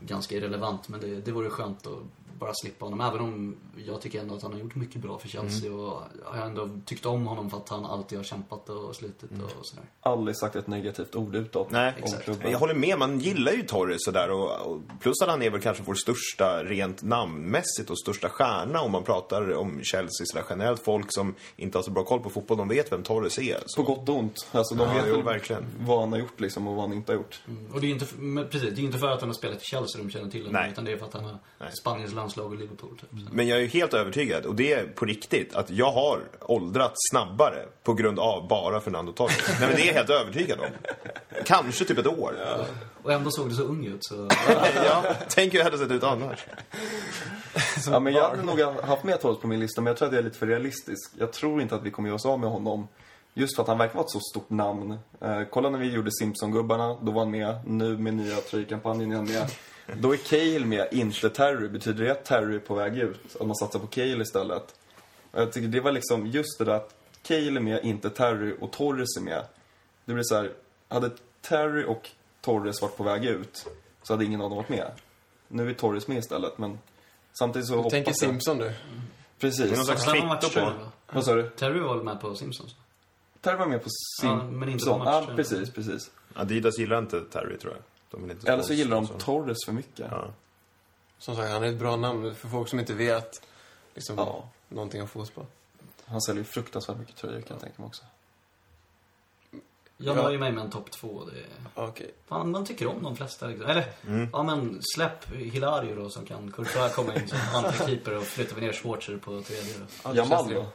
ganska irrelevant, men det, det vore skönt att bara slippa honom. Även om jag tycker ändå att han har gjort mycket bra för Chelsea och jag har ändå tyckt om honom för att han alltid har kämpat och slitit och sådär.
Aldrig sagt ett negativt ord utåt
Nej,
om
exakt.
klubben.
Jag håller med, man gillar ju Torres sådär och, och plus att han är väl kanske vår största rent namnmässigt och största stjärna om man pratar om Chelsea sådär generellt. Folk som inte har så bra koll på fotboll, de vet vem Torres är.
På
Så.
gott och ont. Alltså, de
Ja,
vet
jo,
väl
verkligen. Mm.
vad han har gjort liksom, och vad han inte har gjort.
Mm, Och det är inte, men precis, det är inte för att han har spelat i Chelsea de känner till honom,
Nej. Mm.
utan det är för att han har Spaniens landslag och Liverpool typ. Så.
Men jag är ju helt övertygad, och det är på riktigt, att jag har åldrats snabbare på grund av bara Fernando Torres. Nej men det är jag helt övertygad om. Kanske typ ett år.
Och ändå såg det så ung ut så...
Ja, tänk hur jag hade sett ut annars.
Ja, men jag hade nog haft med Torres på min lista, men jag tror att jag är lite för realistisk. Jag tror inte att vi kommer göra oss av med honom. Just för att han verkar vara ett så stort namn. Eh, kolla när vi gjorde Simpsongubbarna, då var han med. Nu med nya tröjkampanjen är han med. Då är Cale med, inte Terry. Betyder det att Terry är på väg ut? Att man satsar på Cale istället? Och Jag tycker det var liksom just det där att Cale är med, inte Terry, och Torres är med. Det blir så här, hade Terry och Torres varit på väg ut så hade ingen av dem varit med. Nu är Torres med istället, men samtidigt så hoppas
Tänker
jag...
Simpson du.
Precis.
Någon slags
Sen har man
kvitto
varit på
på.
det, va?
Vad sa du?
Terry var väl med på Simpsons?
Terry var med på
Ja,
Simpson.
men inte på matchen.
Ja, precis, precis.
Adidas gillar inte Terry tror jag. De vill inte
Eller så gillar de
sponsra honom.
Torres för mycket.
Ja.
Som sagt, han är ett bra namn för folk som inte vet liksom,
Ja.
någonting om fotboll.
Han säljer fruktansvärt mycket tröjor kan jag tänka mig också.
Jag
Ja.
nöjer mig med en topp två. Det är...
Okej.
Fan, man tycker om de flesta liksom. Eller, ja men släpp Hilario då som kan Courtois komma in som andra keeper och flyttar vi ner Schwarzer på tredje då.
Ja, det känns
Jamal
det.
då?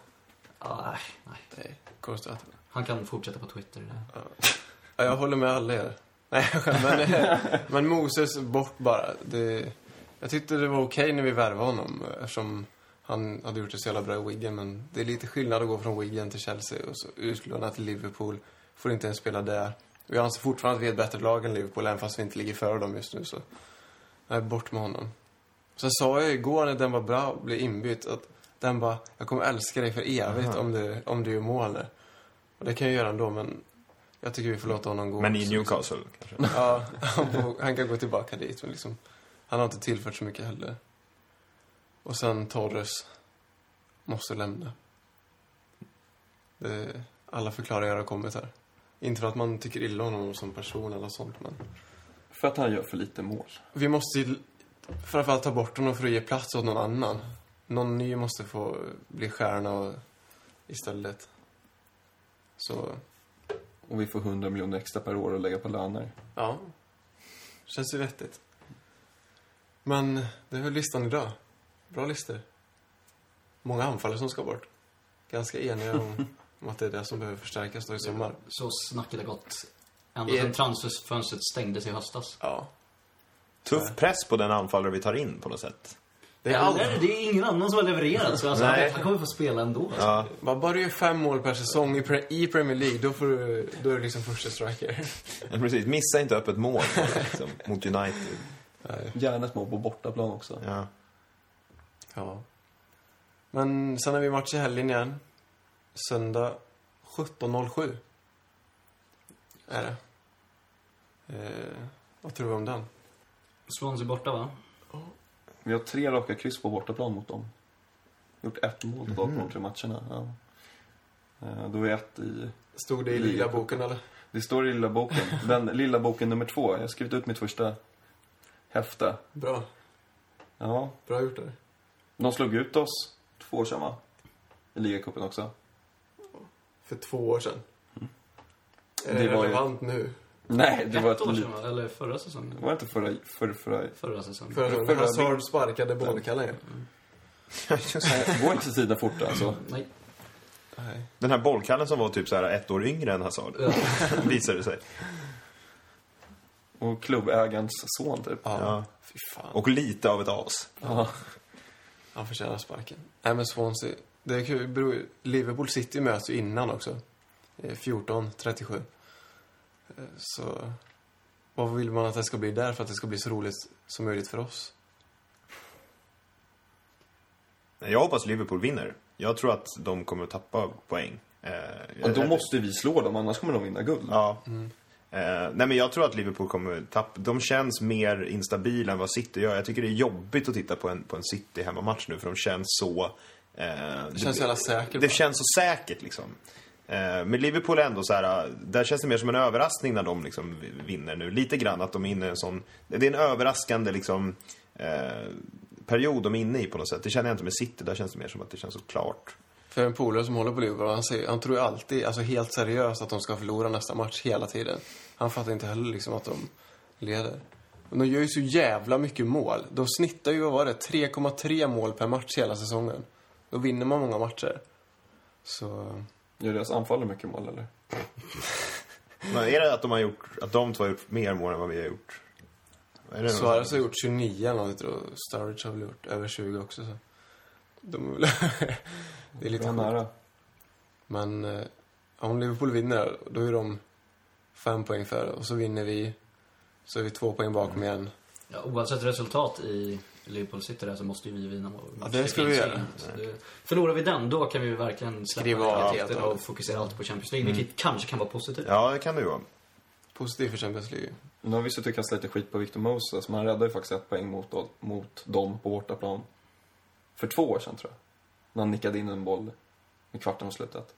Ah, nej, nej.
Nej, konstigt att...
Han kan fortsätta på Twitter. Det.
Ja, jag håller med alla er. Nej, jag skämtar. men, eh, men Moses bort bara. Det, jag tyckte det var okej när vi värvade honom eftersom han hade gjort det så jävla bra i Wigan. Men det är lite skillnad att gå från Wigan till Chelsea och så utlånad till Liverpool. Får inte ens spela där. Och jag anser fortfarande att vi är ett bättre lag än Liverpool även fast vi inte ligger före dem just nu. Så nej, bort med honom. Sen sa jag igår när den var bra och blev inbytt att den bara, jag kommer älska dig för evigt om du, om du gör mål. där." Och det kan jag göra ändå men jag tycker vi får låta honom gå.
Men i
också.
Newcastle kanske?
Ja, han, får- han kan gå tillbaka dit. Men liksom, han har inte tillfört så mycket heller. Och sen Torres måste lämna. Det, alla förklaringar har kommit här. Inte för att man tycker illa om honom som person eller sånt, men...
För att han gör för lite mål.
Vi måste ju framförallt ta bort honom för att ge plats åt någon annan. Någon ny måste få bli stjärna och, istället. Så,
Och vi får 100 miljoner extra per år att lägga på löner.
ja. Känns ju vettigt. Men det är väl listan idag. Bra listor. Många anfallare som ska bort. Ganska eniga om, om att det är det som behöver förstärkas då i sommar.
Så snacket har gått. Ända
Yeah.
sedan transferfönstret stängdes i höstas.
Ja.
Tuff press på den anfallare vi tar in på något sätt.
Det är allt.
Eller, det är ingen annan som har levererat så alltså, han,
Nej.
han kommer få spela ändå. Alltså.
Ja.
Bara bara du gör fem mål per säsong i, pre- i Premier League, då, får du, då är du liksom första striker.
Men precis, missa inte öppet mål liksom, mot United.
Gärna ett mål på bortaplan också.
Ja.
Ja. Men sen har vi match i helgen igen. Söndag 17.07. Är det. Eh, vad tror vi om den?
Swansea borta va?
Vi har tre raka kryss på bortaplan mot dem. Gjort ett mål totalt på de tre matcherna. Ja. Eh, Då är ett i...
Stod det i lila boken eller?
Det står i lilla boken. Den lilla boken nummer två. Jag har skrivit ut mitt första häfte.
Bra.
Ja,
Bra gjort där.
de slog ut oss två år sedan va? I ligacupen också.
För två år sedan.
Mm. Det
Är det
var ju-
relevant nu?
Nej, det var
Ett år
ett
sedan, va? eller förra säsongen?
Det var inte förra, för, förra...
Förra säsongen.
Förra gången
förra-
Hazard
Mm.
sparkade bollkallen.
Går inte tiden fort alltså?
Nej.
Nej.
Den här bollkallen som var typ så här ett år yngre än Hazard,
Ja.
visade det sig.
Och klubbägarens son typ.
Ja.
Ja.
Fy fan.
Och lite av ett as.
Ja.
Han förtjänar sparken. Nej, men Swansea. Det är kul. det beror ju- Liverpool City möts ju innan också. Eh, 14-37. Eh, Så vad vill man att det ska bli där för att det ska bli så roligt som möjligt för oss?
Men Jag hoppas Liverpool vinner. Jag tror att de kommer att tappa poäng. Eh,
Och då
eh,
måste vi slå dem, annars kommer de vinna guld.
Mm.
Ja. Eh, nej men jag tror att Liverpool kommer tappa. De känns mer instabila än vad City gör. Jag tycker det är jobbigt att titta på en, på en City hemmamatch nu för de känns så... Eh,
Det känns så jävla säkert.
det känns så säkert liksom. Eh, Men Liverpool är ändå så här, eh, där känns det mer som en överraskning när de liksom vinner nu. Lite grann att de är inne i en sån, det är en överraskande liksom, eh, period de är inne i på något sätt. Det känner jag inte med City, där känns det mer som att det känns så klart.
För en polare som håller på Liverpool, han, säger, han tror ju alltid, alltså helt seriöst, att de ska förlora nästa match hela tiden. Han fattar inte heller liksom att de leder. Men de gör ju så jävla mycket mål. De snittar ju, vad var det, 3,3 mål per match hela säsongen. Då vinner man många matcher. Så...
Gör deras anfall mycket mål eller?
Men är det att de, har gjort, att de två har gjort mer mål än vad vi har gjort? Är det något?
Suarez har gjort 29 eller något och Sturridge har väl gjort över 20 också. Så. De är väl det är lite
Bra
nära.
nära.
Men eh, om Liverpool vinner, då är de fem poäng före. Och så vinner vi, så är vi två poäng bakom igen.
Ja, oavsett resultat i Liverpool City där så måste ju vi vinna mot-
Ja, det ska vi
finns
göra.
inget. Så det- Förlorar vi den, då kan vi ju verkligen
Skriva av
släppa negativiteterna
allt. Mm.
och fokusera allt på Champions League, vilket kanske kan vara positivt.
Ja, det kan det ju vara.
Positiv för Champions League.
Nu har vi suttit och kastat lite skit på Victor Moses, men han räddade ju faktiskt ett poäng mot, mot dem på bortaplan. För två år sedan tror jag. När han nickade in en boll i kvarten och slutet.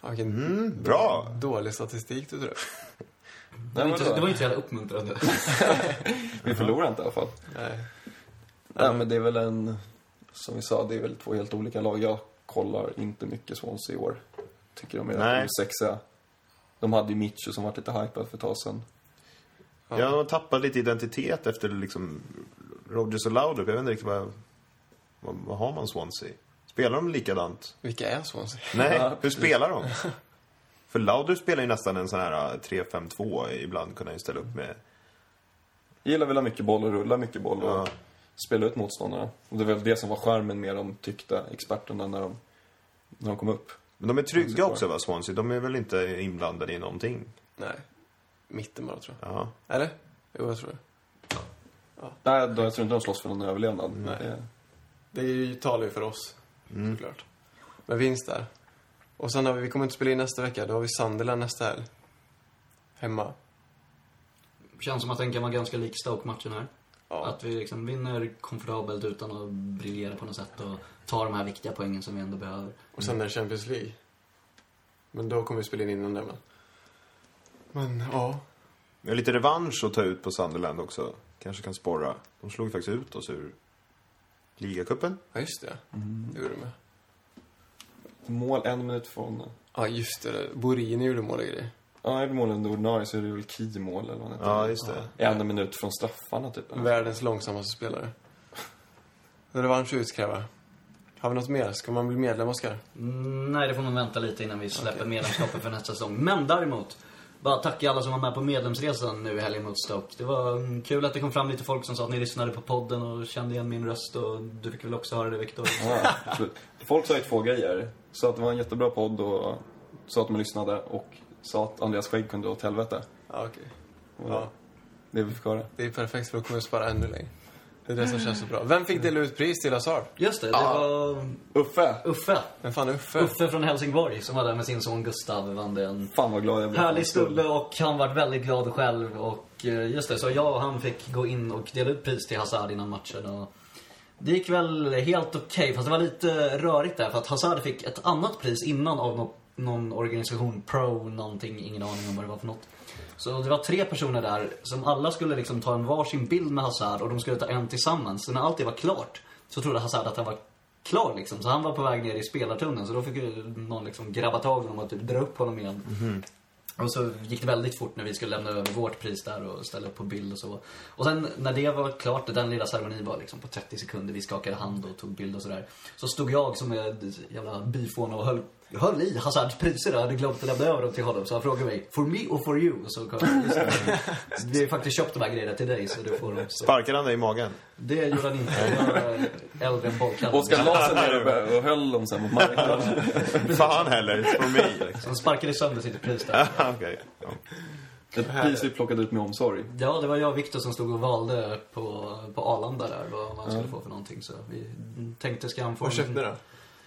Ja, Vilken
Mm, bra!
dålig statistik du tror.
Det, var
Nej,
inte,
men
det var inte så jävla uppmuntrande.
Vi förlorar inte i alla fall.
Nej.
Nej, men det är väl en... Som vi sa, det är väl två helt olika lag. Jag kollar inte mycket Swansea i år. Tycker de är
Nej.
osexiga. De hade ju Mitchu som var lite hypad för ett tag sedan.
Ja, de har tappat lite identitet efter liksom Rodgers och Laudrup. Jag vet inte riktigt vad, vad, vad har man Swansea? Spelar de likadant?
Vilka är Swansea?
Nej,
Ja,
hur spelar de? För Laudrup spelar ju nästan en sån här äh, 3-5-2 ibland, kunde han ju ställa upp med.
Jag gillar väl att ha mycket boll och rulla mycket boll och
Ja.
spela ut motståndarna. Och det var väl det som var skärmen med de tyckte experterna när de, när de kom upp.
Men de är trygga också va, Swansea? De är väl inte inblandade i någonting?
Nej. Mitten bara tror
Ja.
jag. Eller? Jo, jag tror det.
Nej, då jag tror inte de slåss för någon överlevnad.
Nej.
Eh,
Det är ju, talar ju för oss, såklart. Men vinst där. Och sen har vi, vi kommer inte spela in nästa vecka, då har vi Sunderland nästa helg. Hemma.
Känns som att den kan vara ganska lik Stoke-matchen här.
Ja.
Att vi liksom vinner komfortabelt utan att briljera på något sätt och tar de här viktiga poängen som vi ändå behöver.
Och sen är det Champions League. Men då kommer vi spela in innan det, men. Men, ja.
Vi har lite revansch att ta ut på Sunderland också. Kanske kan sporra. De slog ju faktiskt ut oss ur ligacupen.
Ja, just det. Det gjorde de med.
Mål en minut från...
Ja, just det. Borini gjorde mål och grejer.
Ja, är det mål under ordinarie så är det väl Key-mål eller vad han heter.
Ja, just det.
En minut från straffarna typ.
Världens långsammaste spelare. Revansch att utkräva. Har vi något mer? Ska man bli medlem, Oskar?
Mm, Nej, det får man vänta lite innan vi släpper medlemskapet för nästa säsong. Men däremot, bara tacka alla som var med på medlemsresan nu i helgen mot Stoke. Det var mm, kul att det kom fram lite folk som sa att ni lyssnade på podden och kände igen min röst och du fick väl också höra det Viktor?
Ja, absolut. Folk sa ju två grejer. Sa att det var en jättebra podd och sa att man lyssnade och sa att Andreas skägg kunde dra åt helvete.
Ja, okej.
Och
Ja.
Det vi fick höra.
Det är perfekt för då kommer vi spara ännu längre. Det är det som känns så bra. Vem fick dela ut pris till Hazard?
Just det, det var
Uffe!
Uffe.
Men fan Uffe?
Uffe från Helsingborg som var där med sin son Gustav vann det en
Fan vad glad jag blev.
Härlig snubbe och han var väldigt glad själv och eh, just det, så jag och han fick gå in och dela ut pris till Hazard innan matchen och det gick väl helt okej, fast det var lite rörigt där för att Hazard fick ett annat pris innan av nå- någon organisation, Pro någonting, ingen aning om vad det var för något. Så det var tre personer där som alla skulle liksom ta en varsin bild med Hazard och de skulle ta en tillsammans. Så när allt det var klart så trodde Hazard att han var klar liksom. Så han var på väg ner i spelartunneln så då fick ju någon liksom grabba tag i honom och typ dra upp honom igen. Och så gick det väldigt fort när vi skulle lämna över vårt pris där och ställa upp på bild och så. Och sen när det var klart, den lilla ceremonin var liksom på 30 sekunder, vi skakade hand och tog bild och sådär. Så stod jag som en jävla byfån och höll höll i Hazards priser och hade glömt att lämna över dem till honom. Så han frågade mig, for me or for you? Och så kom jag, "Just det. vi har faktiskt köpt de här grejerna till dig så du får dem. Så
Sparkade han dig i magen?
det gjorde han inte. Jag är äldre än bollkallen.
Oskar la sig ner och började- och höll dem sen mot marken.
Fan heller, it's for me. Liksom.
Han sparkade sönder sitt pris där.
Ah, Okej. Ja.
Ett pris vi plockade ut med omsorg.
Ja, det var jag och Viktor som stod och valde på, på Arlanda där vad man skulle få för någonting. Så vi tänkte, ska han få...
Vad köpte ni då?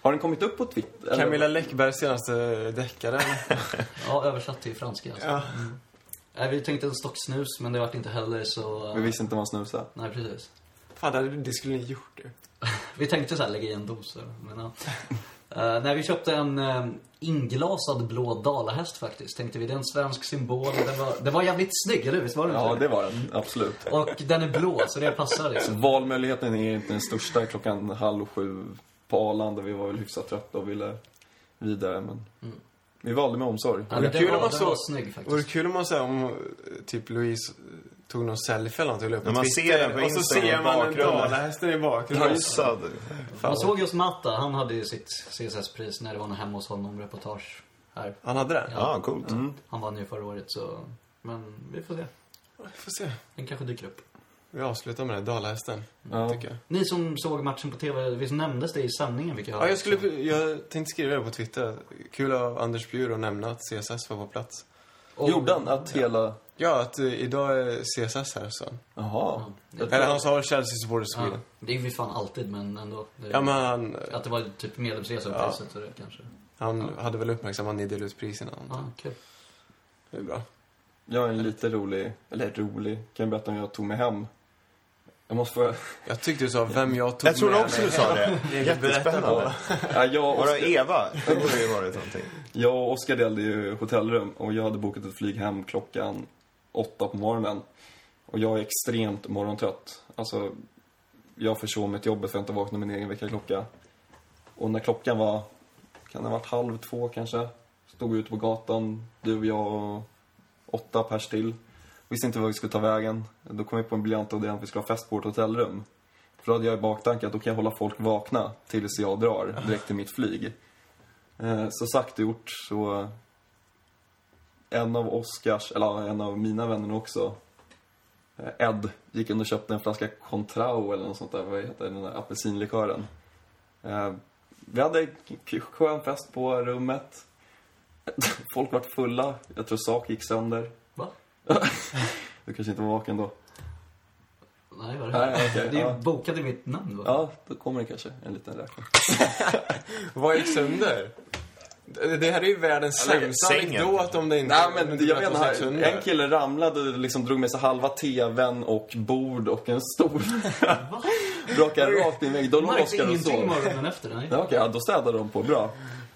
Har den kommit upp på Twitter? eller?
Camilla Läckbergs senaste deckare?
Ja, översatt till franska alltså.
Ja.
Mm. Nej, vi tänkte en stock snus, men det vart inte heller så...
Vi visste inte vad han snusade.
Nej, precis.
Fan, det hade- det skulle ni gjort ju.
Vi tänkte så här, lägga i en dos. så, Men, ja. Eh, nej, vi köpte en eh, inglasad blå dalahäst faktiskt. Tänkte vi, det är en svensk symbol. Den var, den var jävligt snygg, eller hur? Visst var den
Ja,
inte?
det var den. Absolut.
Och den är blå, så det passar liksom.
Mm.
Valmöjligheten är inte den största klockan halv sju på Arlanda. Vi var väl hyfsat trötta och ville vidare, men vi valde med omsorg.
Ja, men
kul
den
om
var,
man
den
så-
var snygg
Vore det
faktiskt.
kul om man säger om eh, typ Louise tog någon selfie eller något och la upp
När man ser den på
och så
Instagram
ser
i
man en
bakgrunden.
dalahästen i bakgrunden.
Pröjsad.
Man såg just Matta, han hade ju sitt CSS-pris när det var något hemma hos honom, reportage här.
Han hade det?
Ja, coolt.
Mm.
Han vann ju förra året så... Men vi får se.
Vi får se.
Den kanske dyker upp.
Vi avslutar med det, dalahästen.
Ja.
Tycker jag.
Ni som såg matchen på TV, visst nämndes det i sändningen liksom- fick jag höra?
Ja, jag, skulle, jag tänkte skriva det på Twitter. Kul av Anders Bjur att nämna att CSS var på plats.
Och-
Gjorde han att hela...
Ja, att eh, idag är CSS här, så.
Jaha.
Eller han sa väl Chelsea Supporters
Ja,
Sweden.
det är vi fan alltid, men ändå. Det,
Ja, men han,
Att det var typ medlemsresa och
Ja.
priset så det kanske.
han hade väl uppmärksammat att ni delade ut pris innan. typ.
Ja, kul.
Det är bra.
Jag har en lite rolig, eller rolig, kan jag berätta om jag tog mig hem. Jag måste få...
Jag tyckte du sa vem jag tog
Jag trodde
med
också
mig.
du sa det. Jättespännande.
Ja, jag, och
Var
Oskar,
det Eva? Det borde ju varit någonting.
jag och Oskar delade ju hotellrum och jag hade bokat ett flyg hem klockan åtta på morgonen. Och jag är extremt morgontrött. Alltså, jag försov mitt jobb för att inte vakna med min egen väckarklocka. Och när klockan var, kan det ha varit halv två kanske, stod vi ute på gatan, du och jag och åtta pers till. Visste inte var vi skulle ta vägen. Då kom vi på en briljant idé att vi skulle ha fest på vårt hotellrum. För då hade jag i baktanke att då kan jag hålla folk vakna tills jag drar direkt till mitt flyg. Eh, Så sagt och gjort så... En av Oscars, eller ja, en av mina vänner också, eh, Ed, gick in och köpte en flaska Contrao eller något sånt där, vad heter den där apelsinlikören. Eh, Vi hade k- k- skön fest på rummet. Folk vart fulla. Jag tror sak gick sönder.
Va?
Du kanske inte var vaken då?
Nej, var det
Nej, okej,
Det är ju
ja.
bokat i mitt namn va?
Ja, då kommer det kanske en liten räkning.
Vad gick sönder? Det det här är ju världens
Eller
sämsta
sängen.
anekdot om det inte...
Nej
om
men
det
jag
inte
menar,
gick sönder.
en kille ramlade och liksom drog med sig halva tvn och bord och en stol.
Va?
Brakade rakt i mig. Då låg
Märkte
Oskar och
ingenting
sov.
morgonen efter? Nej.
Ja, Okej, ja, då städade de på. Bra.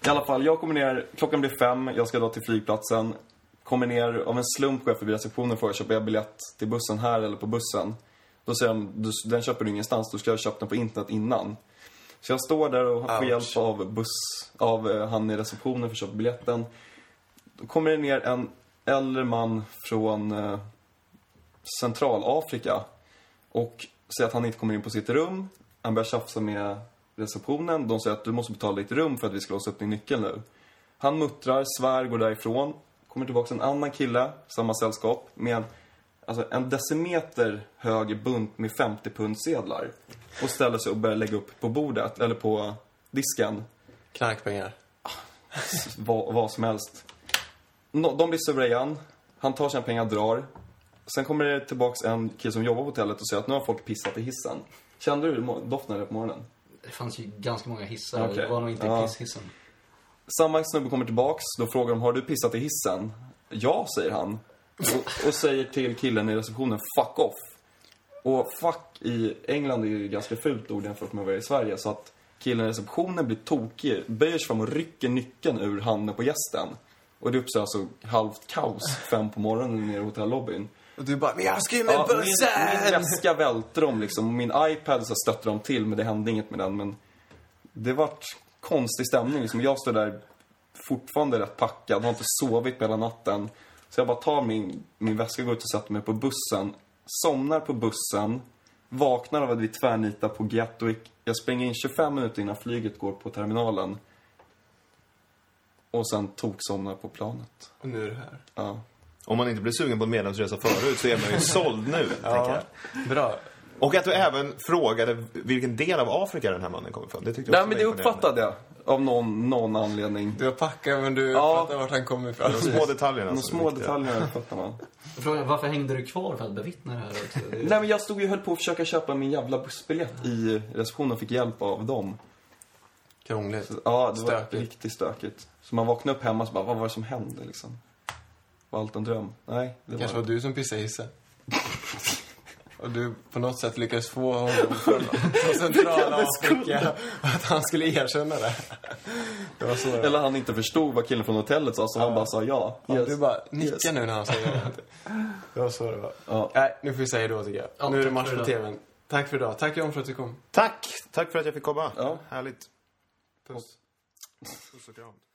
I alla fall, jag kommer ner, klockan blir fem, jag ska dra till flygplatsen. Kommer ner, av en slump går jag förbi receptionen för att köpa biljett till bussen här eller på bussen. Då säger de, "Du- den köper du ingenstans, du ska ha köpt den på internet innan. Så jag står där och får
Ouch.
hjälp av buss, av eh, han i receptionen för att köpa biljetten. Då kommer det ner en äldre man från eh, Centralafrika och säger att han inte kommer in på sitt rum. Han börjar tjafsa med receptionen. De säger att du måste betala ditt rum för att vi ska låsa upp din nyckel nu. Han muttrar, svär, går därifrån. Kommer tillbaka en annan kille, samma sällskap, med en, alltså en decimeter hög bunt med 50 pundsedlar. Och ställer sig och börjar lägga upp på bordet, eller på disken
Knarkpengar.
vad, vad som helst. Nå- de blir sura igen. Han tar sina pengar, drar. Sen kommer det tillbaks en kille som jobbar på hotellet och säger att nu har folk pissat i hissen. Kände du mo- doften av det på morgonen?
Det fanns ju ganska många hissar.
Okej.
Det var nog inte
Ja.
pisshissen.
Samma snubbe kommer tillbaks, då frågar de har du pissat i hissen? Ja, säger han. Och, och säger till killen i receptionen, fuck off. Och fuck i England är ju ganska fult ord jämfört med vad det är i Sverige. Så att killen i receptionen blir tokig, böjer sig fram och rycker nyckeln ur handen på gästen. Och det uppstår alltså halvt kaos fem på morgonen nere i hotellobbyn.
Och du bara, men jag ska ju med
Ja, min, min
bussen!
väska välter om liksom. och Min iPad så stötte de till, men det hände inget med den. Men det vart konstig stämning. Liksom. Jag står där fortfarande rätt packad, har inte sovit på hela natten. Så jag bara tar min, min väska, går ut och sätter mig på bussen. Somnar på bussen. Vaknar av att vi tvärnitar på Gatwick. Jag springer in 25 minuter innan flyget går på terminalen. Och sen toksomnar på planet.
Och nu är det här.
Ja.
Om man inte blev sugen på en medlemsresa förut så är man ju såld nu, tänker jag.
Bra.
Och att du även frågade vilken del av Afrika den här mannen kommer ifrån. Det tyckte jag
Nej
också
men
var
det
imponerande.
uppfattade jag. Av någon, någon anledning.
Du har packat men du
Ja.
pratar vart han kommer ifrån.
De små detaljerna.
De
som
små
är viktiga.
detaljerna fattar man.
Frågan är, varför hängde du kvar för att bevittna det här också? Det är-
Nej men jag stod ju och höll på att försöka köpa min jävla bussbiljett i receptionen och fick hjälp av dem.
Krångligt.
Ja, det var
Stökigt.
riktigt stökigt. Så man vaknade upp hemma och så bara, vad var det som hände liksom? Var allt en dröm? Nej, det
Det kanske
var
var du som pissade i hissen. Och du på något sätt lyckades få honom från, från centrala Afrika att han skulle erkänna det. Det var så det var.
Eller han inte förstod vad killen från hotellet sa, så han bara sa ja.
Ja,
Yes.
Du bara nickar
Yes.
nu när han säger det. Det var så det var.
Ja.
Nej, nu får vi säga då tycker jag.
Ja,
nu är det
tack
match
för
på
idag.
TVn. Tack för idag. Tack John för att du kom.
Tack! Tack för att jag fick komma.
Ja.
Härligt.
Puss.
Puss och kram.